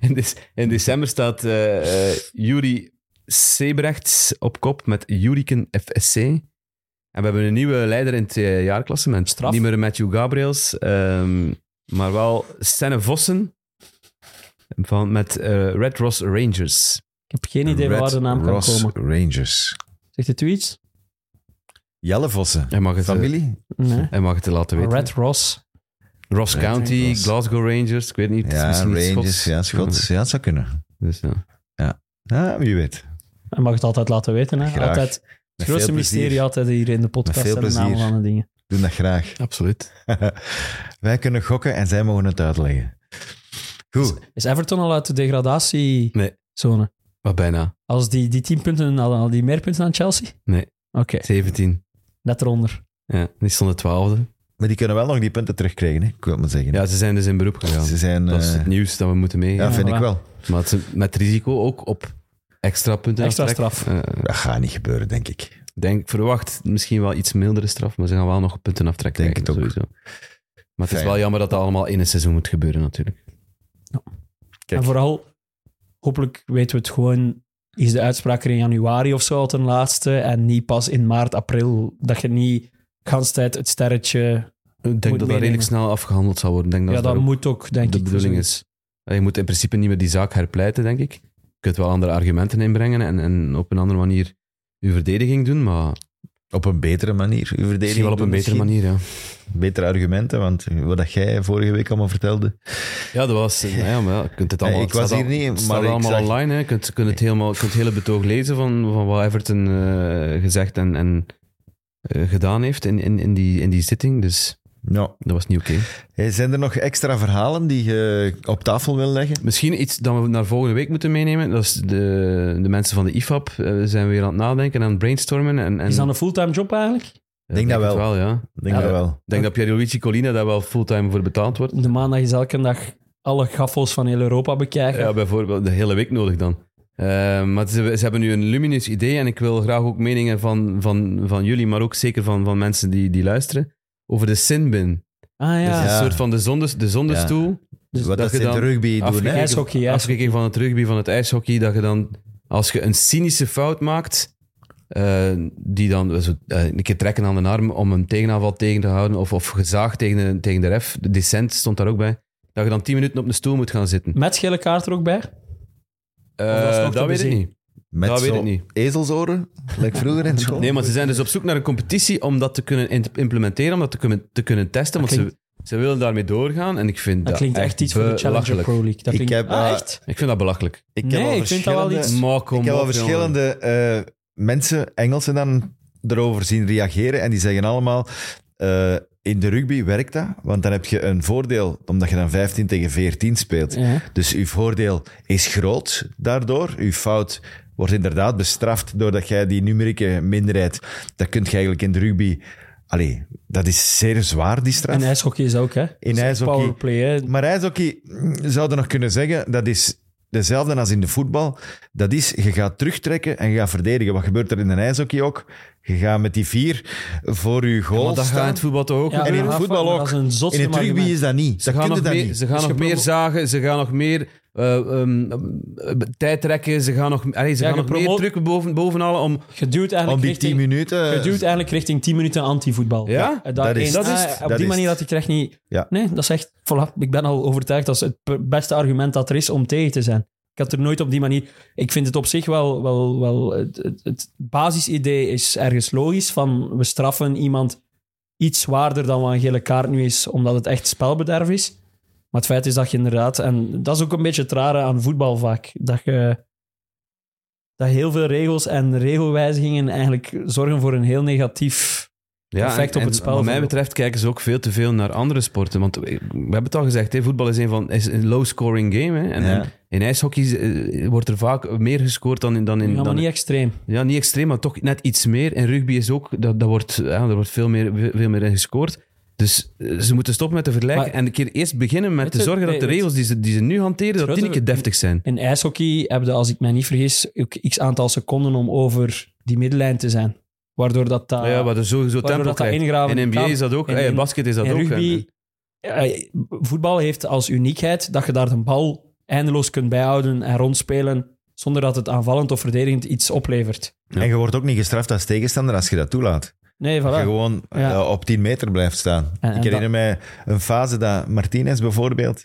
In, des- in december staat eh eh Juri Sebrechts op kop met Juriken FSC. En we hebben een nieuwe leider in het eh, jaarklassement.
Straf.
Niet meer Matthew Gabriels, ehm, maar wel Senne Vossen van, met eh, Red Ross Rangers.
Ik heb geen idee waar
Red
de naam kan
Ross
komen.
Rangers.
Zegt het u iets?
Jelle Vossen.
Hij mag het, eh,
Familie?
Nee.
hij mag het laten weten.
Red Ross.
Ross
Red
County,
Ross.
Glasgow Rangers, ik weet niet. het is
Ja,
misschien iets
Rangers.
Schots.
Ja, Schots. Ja, dat zou kunnen.
Dus, ja.
Ja, wie weet.
Hij mag het altijd laten weten. Hè?
Graag.
Altijd. Het
Met
grootste
veel plezier.
mysterie altijd hier in de
Met
podcast
veel
en de namen
plezier.
van de dingen.
Doe dat graag.
Absoluut.
Wij kunnen gokken en zij mogen het uitleggen. Goed.
Is Everton al uit de
Nee.
degradatiezone?
Maar bijna.
Als die, die 10 punten hadden, al die meer punten aan Chelsea?
Nee.
Oké,
17.
net eronder.
Ja, die stonden 12e.
Maar die kunnen wel nog die punten terugkrijgen, hè? ik wil het maar zeggen.
Ja, ze zijn dus in beroep gegaan.
Ze zijn...
Dat is
eh,
het nieuws dat we moeten mee.
ja, vind
voilà.
ik wel.
Maar het is met risico ook op extra punten.
Extra
aftrek.
straf.
Eh,
Dat gaat niet gebeuren, denk ik.
denk, verwacht misschien wel iets mildere straf, maar ze gaan wel nog punten aftrekken.
Denk het ook.
Sowieso. Maar het is
Fijn.
wel jammer dat dat allemaal in een seizoen moet gebeuren, natuurlijk.
Kijk.
En vooral, hopelijk weten we het gewoon, is de uitspraak er in januari of zo al ten laatste en niet pas in maart, april. Dat je niet de hele tijd het sterretje...
Ik denk dat dat
meenemen.
redelijk snel afgehandeld zal worden. Ik Denk dat
ja,
ze
dat
daar ook-
moet ook, denk
de
ik.
bedoeling
zoiets.
is. Je moet in principe niet meer die zaak herpleiten, denk ik. Je kunt wel andere argumenten inbrengen en, en op een andere manier je verdediging doen, maar
Op een betere manier. Uw
misschien
verdediging
wel op een
doen
betere
misschien.
manier. Ja,
Betere argumenten, want wat dat jij vorige week allemaal vertelde.
ja dat was. nou ja, maar ja, je kunt het
Nee,
allemaal.
ik was
het staat
hier
al-
niet,
het
maar
staat
ik
allemaal
zag-
online. Hè. Je kunt, je kunt het helemaal, je kunt het hele betoog lezen van, van wat Everton eh, gezegd en, en eh, gedaan heeft in, in, in, die, in die zitting. Dus
Ja.
dat was niet oké.
Hey, zijn er nog extra verhalen die je op tafel wil leggen?
Misschien iets dat we naar volgende week moeten meenemen. Dat is de, de mensen van de IFAB eh, zijn weer aan het nadenken, aan het brainstormen. En, en,
Is dat een fulltime job eigenlijk?
Ja,
Denk dat
het
wel.
ja.
Ik Denk
Ja.
dat wel.
Ik denk dat Pierluigi Colina daar wel fulltime voor betaald wordt.
De maandag is elke dag alle gaffels van heel Europa bekijken.
Ja, bijvoorbeeld de hele week nodig dan. Eh, maar ze, ze hebben nu een luminous idee en ik wil graag ook meningen van, van, van jullie, maar ook zeker van, van mensen die, die luisteren, over de sinbin.
ah
Dat
ja,
is een
Ja.
soort van de, zondes, de zondestoel.
Dus
wat
dat
dat
je
ze in
dan
de rugby doen, hè?
afgekeken-
Ijshockey, ja.
Afgekeken van het rugby, van het ijshockey, dat je dan, als je een cynische fout maakt, eh, die dan zo, eh, een keer trekken aan de arm om een tegenaanval tegen te houden, of, of gezaagd tegen de, tegen de ref, de decent stond daar ook bij, dat je dan tien minuten op de stoel moet gaan zitten.
met gele kaart er ook bij.
Eh,
dat is nog
dat
te
weet ik
bezien.
niet.
Met
dat weet
zo
ik niet.
ezelsoren, like vroeger in school.
Nee, maar ze zijn dus op zoek naar een competitie om dat te kunnen in- implementeren, om dat te kunnen, te kunnen testen.
Dat
want ze, ze willen daarmee doorgaan en ik vind
Dat
dat,
klinkt echt iets voor de Challenger
belachelijk.
Pro League. Dat
Ik
klinkt,
heb,
ah,
eh,
echt?
Ik vind dat belachelijk.
ik
Nee,
al
ik vind dat wel
verschillende-
iets-
Maar kom
Ik heb al
op, jongen.
verschillende eh, mensen, Engelsen dan, erover zien reageren. En die zeggen allemaal, eh, in de rugby werkt dat. Want dan heb je een voordeel, omdat je dan 15 tegen 14 speelt.
Ja.
Dus uw voordeel is groot daardoor. Uw fout wordt inderdaad bestraft doordat jij die numerieke minderheid... Dat kunt je eigenlijk in de rugby... Allee, dat is zeer zwaar, die straf.
En ijshockey is ook, hè? Dat is echt
ijshockey-
Powerplay, hè?
Maar ijshockey mm, zouden nog kunnen zeggen, dat is
dezelfde als in de voetbal. Dat is, je gaat terugtrekken en je gaat verdedigen. Wat gebeurt er in de ijshockey ook? Je gaat met die vier voor je goal
Want dat
staan.
gaat in het voetbal toch ook.
en
Ja,
in het
maar
voetbal ook.
Dat is een
In
zotste
het rugby
argument.
is dat niet.
Ze
dat kunnen
gaan nog,
dat
meer,
niet.
ze gaan
Dus
nog
je
meer
promo-
zagen, ze gaan nog meer eh, ehm, eh, tijd trekken, ze gaan nog, allee, ze
Ja,
gaan
je
nog meer
promoot-
drukken boven, bovenal om...
Je duwt
Om
eigenlijk
die 10
richting,
minuten...
je duwt eigenlijk richting 10 minuten anti-voetbal.
Ja,
Eh,
dat is-
eens-
dat
ah,
is-
Op
dat
die
is-
manier dat ik echt niet...
Ja.
Nee, dat is echt... Voilà, ik ben al overtuigd dat is het p- beste argument dat er is om tegen te zijn. Ik had er nooit op die manier... Ik vind het op zich wel... wel, wel het, het, het basisidee is ergens logisch, van we straffen iemand iets zwaarder dan wat een gele kaart nu is, omdat het echt spelbederf is. Maar het feit is dat je inderdaad... En dat is ook een beetje het rare aan voetbal vaak. Dat je... Dat heel veel regels en regelwijzigingen eigenlijk zorgen voor een heel negatief
Ja,
Effect op het spel
Wat
van-
mij betreft kijken ze ook veel te veel naar andere sporten. Want we we hebben het al gezegd, hè, voetbal is een, van, is een low-scoring game. Hè, en,
Ja.
en in ijshockey eh, wordt er vaak meer gescoord dan in... Dan in
Ja, maar
dan
niet extreem.
Ja, niet extreem, maar toch net iets meer. En rugby is ook, dat, dat wordt, ja, er wordt veel meer, veel meer in gescoord. Dus eh, ze moeten stoppen met te vergelijken
Maar-
en een keer eerst beginnen met
Weet
te
je,
zorgen dat
nee,
de
weet-
regels die ze, die ze nu hanteren, dat die een
grote-
keer deftig zijn.
In ijshockey hebben ze, als ik mij niet vergis, ook x aantal seconden om over die middenlijn te zijn. Waardoor dat... dat
ja, maar dat sowieso
waardoor
tempo
dat dat
krijgt.
ingraven
In NBA
kan.
is dat ook,
In-
eh,
in-
basket is dat
in
ook.
rugby, eh, voetbal heeft als uniekheid dat je daar de bal eindeloos kunt bijhouden en rondspelen zonder dat het aanvallend of verdedigend iets oplevert.
En je wordt ook niet gestraft als tegenstander als je dat toelaat.
Nee,
Dat je
voilà.
gewoon
Ja.
eh, op 10 meter blijft staan.
En- en
ik herinner mij een fase dat Martinez bijvoorbeeld,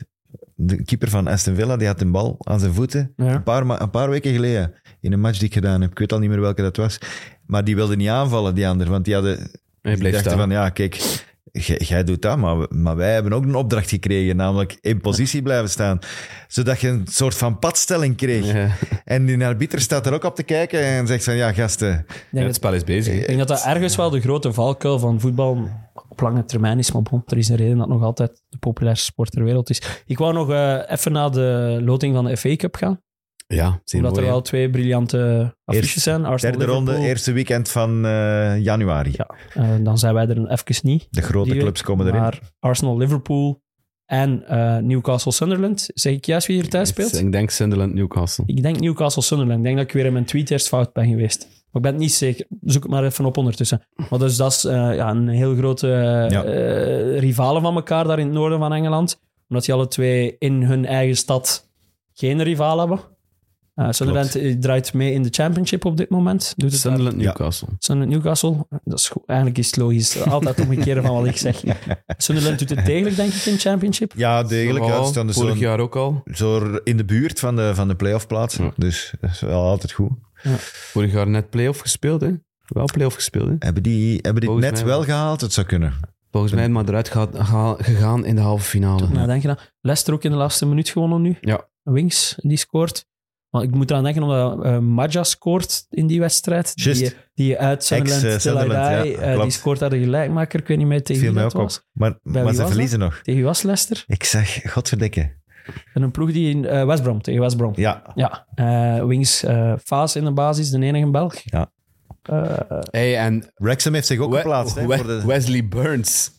de keeper van Aston Villa, die had een bal aan zijn voeten.
Ja.
Een, paar ma- een paar weken geleden, in een match die ik gedaan heb. Ik weet al niet meer welke dat was. Maar die wilde niet aanvallen, die ander. Want die hadden...
Hij
die
blijft
dachten
staan.
van, ja, kijk, jij jij doet dat, maar, we- maar wij hebben ook een opdracht gekregen. Namelijk in positie blijven staan. Zodat je een soort van padstelling kreeg.
Ja.
En die arbiter staat er ook op te kijken en zegt van, ja, gasten...
Ik denk
het
dat-
spel is bezig.
ik denk dat dat ergens wel de grote valkuil van voetbal op lange termijn is. Maar bon, er is een reden dat het nog altijd de populairste sport ter wereld is. Ik wou nog eh, even naar de loting van de FA Cup gaan.
Ja, zeer
Omdat
mooi,
er
hè.
wel twee briljante affiches
Eerst-
zijn. Arsenal,
Derde ronde,
Liverpool.
eerste weekend van eh, januari.
Ja, eh, dan zijn wij er even niet.
De grote
Die
clubs komen erin.
Maar Arsenal, Liverpool en eh, Newcastle, Sunderland. Zeg ik juist wie hier thuis speelt?
Ik denk Sunderland Newcastle.
Ik denk Newcastle, Sunderland. Ik denk dat ik weer in mijn tweet eerst fout ben geweest. Maar ik ben het niet zeker. Zoek het maar even op ondertussen. Maar dus dat is eh, ja, een heel grote eh,
Ja.
eh, rivalen van elkaar daar in het noorden van Engeland. Omdat die alle twee in hun eigen stad geen rivaal hebben. Eh, Sunderland eh, draait mee in de championship op dit moment. Doet het daar
Sunderland Newcastle.
Sunderland Newcastle, dat is goed. eigenlijk is het logisch. Altijd omgekeren van wat ik zeg. Sunderland doet het degelijk, denk ik, in Championship.
Ja, degelijk. Ja,
Nogal,
ze staan dus
Vorig
zo,
jaar ook al.
zo in de buurt van de, van de playoff plaats.
Ja.
Dus dat is wel altijd goed.
Vorig jaar net play-off gespeeld, hè? Wel play-off gespeeld, hè?
Hebben die, hebben die het
Volgens
net
mij wel.
wel gehaald? Het zou kunnen.
Volgens mij maar eruit gehaald- gehaal- gegaan in de halve
Nou,
finale.
denk je dat? Leicester ook in de laatste minuut gewonnen nu.
Ja.
Wings, die scoort. Want ik moet eraan denken omdat eh Maja scoort in die wedstrijd. Die,
Just.
die uit Sunderland,
Ex, eh,
Till I
Sunderland,
Die,
ja,
eh, die
klopt.
scoort daar de gelijkmaker. Ik weet niet meer tegen
viel
wie
mij
dat
ook
was.
op. Maar,
wie
maar
was
ze
dat?
verliezen nog.
Tegen wie was Leicester?
Ik zeg, godverdikke.
En een ploeg die in eh West Brom, tegen West Brom.
Ja,
Ja, eh, Wings, eh Faas in de basis, de enige Belg.
Ja.
Eh,
Hey, en
Wrexham heeft zich ook
We-
geplaatst. hè,
We-
voor de-
Wesley Burns.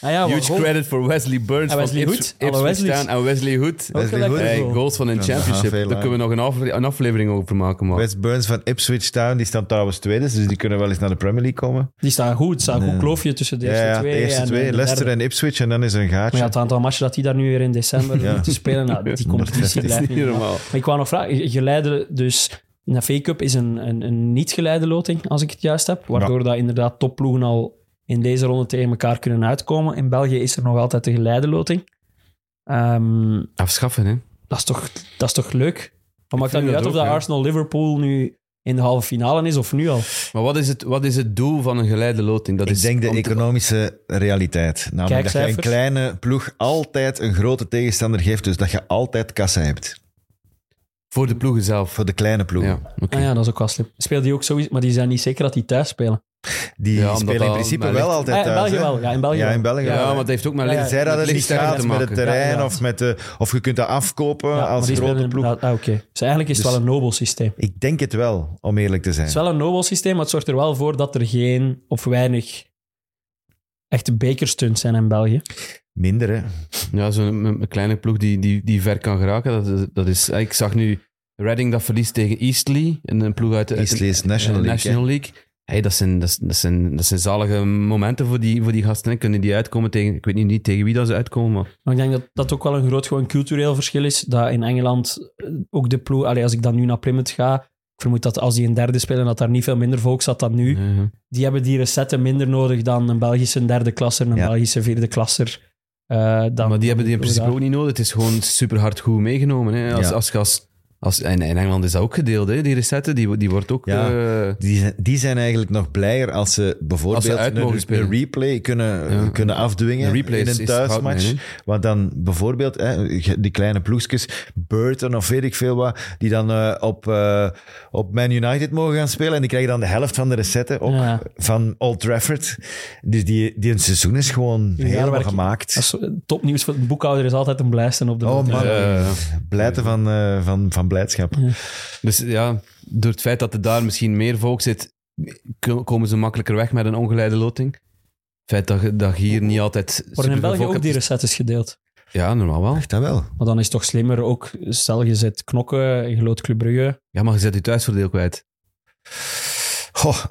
ah ja,
Huge
waarom?
credit voor Wesley Burns.
En Wesley
van
Hood.
Ips-
Alle
Ipswich
Wesleys.
Town en Wesley Hood.
Wesley
lekker
Hood.
voor.
Hey, goals van een
Ja, veel,
championship.
hè.
Daar kunnen we nog een, afle- een aflevering over maken. Maar.
West Burns van Ipswich Town, die staan trouwens tweede, dus die kunnen wel eens naar de Premier League komen.
Die staan goed. Het staat een
Nee.
goed kloofje tussen de
ja,
eerste
ja,
twee.
de eerste
en
twee,
de
Leicester
derde.
en Ipswich, en dan is er een gaatje.
Maar ja, het aantal matchen dat die daar nu weer in december
Ja.
moeten spelen, nou, die competitie
Dat is
blijft
niet
niet normaal.
normaal.
Maar ik wou nog vragen, je- geleide dus... Een V-Cup is een, een, een niet-geleide loting, als ik het juist heb. Waardoor dat inderdaad topploegen al in deze ronde tegen elkaar kunnen uitkomen. In België is er nog altijd de geleide loting. Ehm,
Afschaffen, hè?
dat, is toch, dat is toch leuk? Maar maakt dat
vind
niet
dat
uit of
ook,
dat
ja.
Arsenal-Liverpool nu in de halve finale is of nu al?
Maar wat is het, wat is het doel van een geleide loting? Dat
Ik
is
denk de
om te-
economische realiteit. Namelijk dat je een
Kijkcijfers.
kleine ploeg altijd een grote tegenstander geeft, dus dat je altijd kassa hebt.
voor de ploegen zelf.
Voor de kleine ploegen.
Ja, oké.
Ah ja, dat is ook wel slim. Speelt die ook sowieso, maar die zijn niet zeker dat die thuis spelen.
Die
Ja, omdat
spelen in
dat
principe
maar
wel
ligt-
altijd
Ah, in
thuis.
België
hè?
wel. Ja, in België
Ja,
wel.
in België
Ja,
wel,
maar
hè.
het heeft ook met
Ja,
licht,
ja.
Zij
met
dat het niet
lichtsterkte
gaat
te
met het eh,
maken.
terrein
Ja,
of, met de, of je kunt dat afkopen
Ja, maar
als
die
grote
spelen
ploeg.
inderdaad- Ah, oké. Dus eigenlijk is het
Dus-
wel een nobel systeem.
Ik denk het wel, om eerlijk te zijn.
Het is wel een nobel systeem, maar het zorgt er wel voor dat er geen of weinig echte bekerstunts zijn in België.
Minder, hè.
Ja, zo'n een- een kleine ploeg die, die, die ver kan geraken. Dat, dat is, ik zag nu Reading dat verliest tegen Eastleigh. Een een ploeg uit de
Eastleigh is National
eh,
League,
National League. Hey, dat, zijn, dat, zijn- dat, zijn, dat zijn zalige momenten voor die, voor die gasten. hè. Kunnen die uitkomen tegen... Ik weet niet, niet tegen wie dat ze uitkomen, maar...
Maar ik denk dat dat ook wel een groot gewoon cultureel verschil is. Dat in Engeland eh, ook de ploeg... Allee, als ik dan nu naar Plymouth ga, ik vermoed dat als die een derde spelen, dat daar niet veel minder volk zat dan nu.
Ja, ja.
Die hebben die recetten minder nodig dan een Belgische derde klasser, een
Ja.
Belgische vierde klasser. eh, dan,
maar die hebben die
dan
in principe
daar.
ook niet nodig. Het is gewoon super hard goed meegenomen. Hè. Als,
Ja.
als, je als, als, en in Engeland is dat ook gedeeld, hè, die recepten. Die, die wordt ook...
Ja.
eh,
Die zijn, die zijn eigenlijk nog blijer als ze bijvoorbeeld
Als ze uit
een-
mogen
een,
spelen.
replay kunnen,
Ja.
kunnen afdwingen
Een replay
in
is-
een
is goud,
thuismatch.
nee,
Want dan bijvoorbeeld hè, die kleine ploegjes, Burton of weet ik veel wat, die dan eh, op, eh, op Man United mogen gaan spelen. En die krijgen dan de helft van de recetten ook
Ja.
van Old Trafford. Dus die, die een seizoen is gewoon
Ja,
helemaal
werk-
gemaakt.
Dat is topnieuws voor de boekhouder is altijd een blijsten op de
Oh
noten.
man,
Ja.
blijten van, eh, van, van blijdschap.
Dus ja, door het feit dat er daar misschien meer volk zit, k- komen ze makkelijker weg met een ongeleide loting. Het feit dat, je- dat je hier niet altijd...
Worden in
superveel
België
volk
ook die
hebt,
recettes gedeeld?
is- Ja, normaal wel.
Dat wel.
Maar dan is het toch slimmer ook, stel je zit knokken, je loopt Club Brugge.
Ja, maar je zet je thuisvoordeel kwijt.
Goh,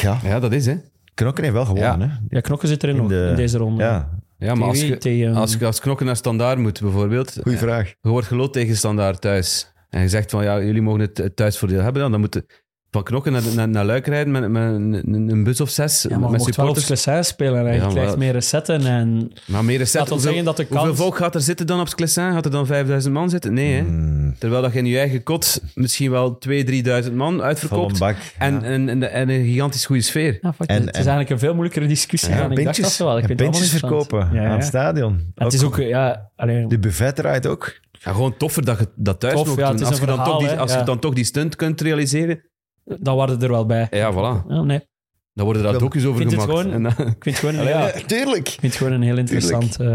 ja,
Ja, dat is, hè.
Knokken heeft wel gewonnen. Hè?
Ja, knokken zit erin
In
nog
de-
in deze ronde.
Ja,
Ja, maar als
Tegen wie?
je,
Tegen-
als je als knokken naar standaard moet, bijvoorbeeld. eh,
goeie vraag.
Je wordt geloot tegen standaard thuis. En je zegt van, ja, jullie mogen het- het thuisvoordeel hebben. Dan, dan moeten van knokken naar, naar, naar Luik rijden met, met een, een- een bus of zes.
Ja, maar je
met
mocht wel op
supporters.
Clessens spelen en je
Ja,
krijgt
maar-
meer recetten. En...
Maar meer
Laat ons
recept.
zeggen dat de
Hoeveel
kans-
volk gaat er zitten dan op Sclessin? Gaat er dan 5000 man zitten? Nee, hè.
Hmm,
Terwijl dat je in je eigen kot misschien wel 2.000, 3.000 man
vol een
uitverkoopt.
bak.
En,
ja.
en, en, en een gigantisch goede sfeer.
Ja, fuck,
En-
het is
en-
eigenlijk een veel moeilijkere discussie
Ja,
dan ik dacht dat
pintjes,
ze wel. Ik
en
vind het allemaal
pintjes
interessant.
verkopen
Ja,
aan
ja.
het stadion.
En Het is ook, ja, alleen,
De buffet draait ook.
Ja, gewoon toffer dat je dat thuis
Tof,
nog
ja,
doet.
het is
Als, je
een
dan,
verhaal,
toch die,
hè.
als
Ja.
je dan toch die stunt kunt realiseren.
dan waren we er wel bij.
Ja, voilà.
Ja, nee.
Dan worden daar
Ik
doekjes over
vind het
gemaakt.
gewoon-
En eh, dan-
Ik vind het gewoon een, ja,
Ja,
ik
tuurlijk.
vind het gewoon een heel interessant, eh,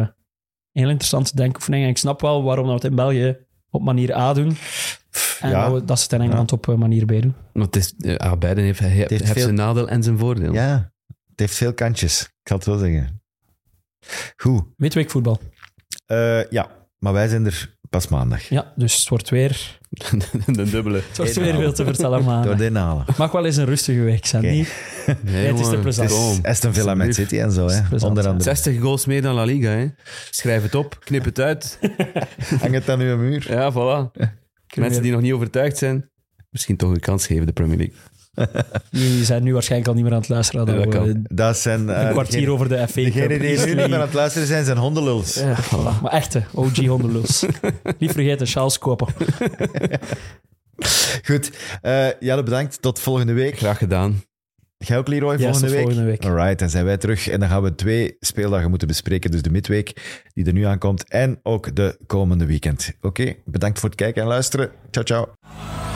heel interessante denkoefening. En ik snap wel waarom dat we het in België op manier A doen. En
Ja.
dat we- dat ze het in Engeland op eh, manier B doen.
Want het is, ja, beiden heeft, hij heeft,
heeft
heeft
veel-
zijn nadeel en zijn voordeel.
Ja, het heeft veel kantjes. Ik ga het wel zeggen. Goed.
Midweek voetbal.
Eh, ja, maar wij zijn er pas maandag.
Ja, dus het wordt weer,
de dubbele.
het wordt weer veel te vertellen.
Door
Maar
de inhalen.
het mag wel eens een rustige week zijn.
Oké.
Niet?
Nee,
het is
jongen,
te plezant.
het is-
Aston Villa met
Alsjeblieft.
City en zo, hè.
plezant,
onder
ja.
andere.
60 goals meer dan La Liga. Hè. Schrijf het op, knip het uit.
Hang het aan uw muur.
Ja, voilà. Mensen die nog niet overtuigd zijn, misschien toch een kans geven, de Premier League.
Die zijn nu waarschijnlijk al niet meer aan het luisteren. Dat
Ja, dat
we,
kan.
eh,
Dat zijn... eh,
een kwartier
degene-
over de FA.
Degenen
Cup.
die nu niet meer aan het luisteren zijn, zijn hondenluls.
Ja, voilà. Maar echte OG hondenlus. Niet vergeten, Charles kopen.
Goed. Eh Jelle, bedankt. Tot volgende week.
Graag gedaan.
Jij ook, Leroy,
Ja,
volgende,
tot
week?
volgende week.
Alright, dan zijn wij terug. En dan gaan we twee speeldagen moeten bespreken. Dus de midweek die er nu aankomt en ook de komende weekend. Oké, bedankt voor het kijken en luisteren. Ciao, ciao.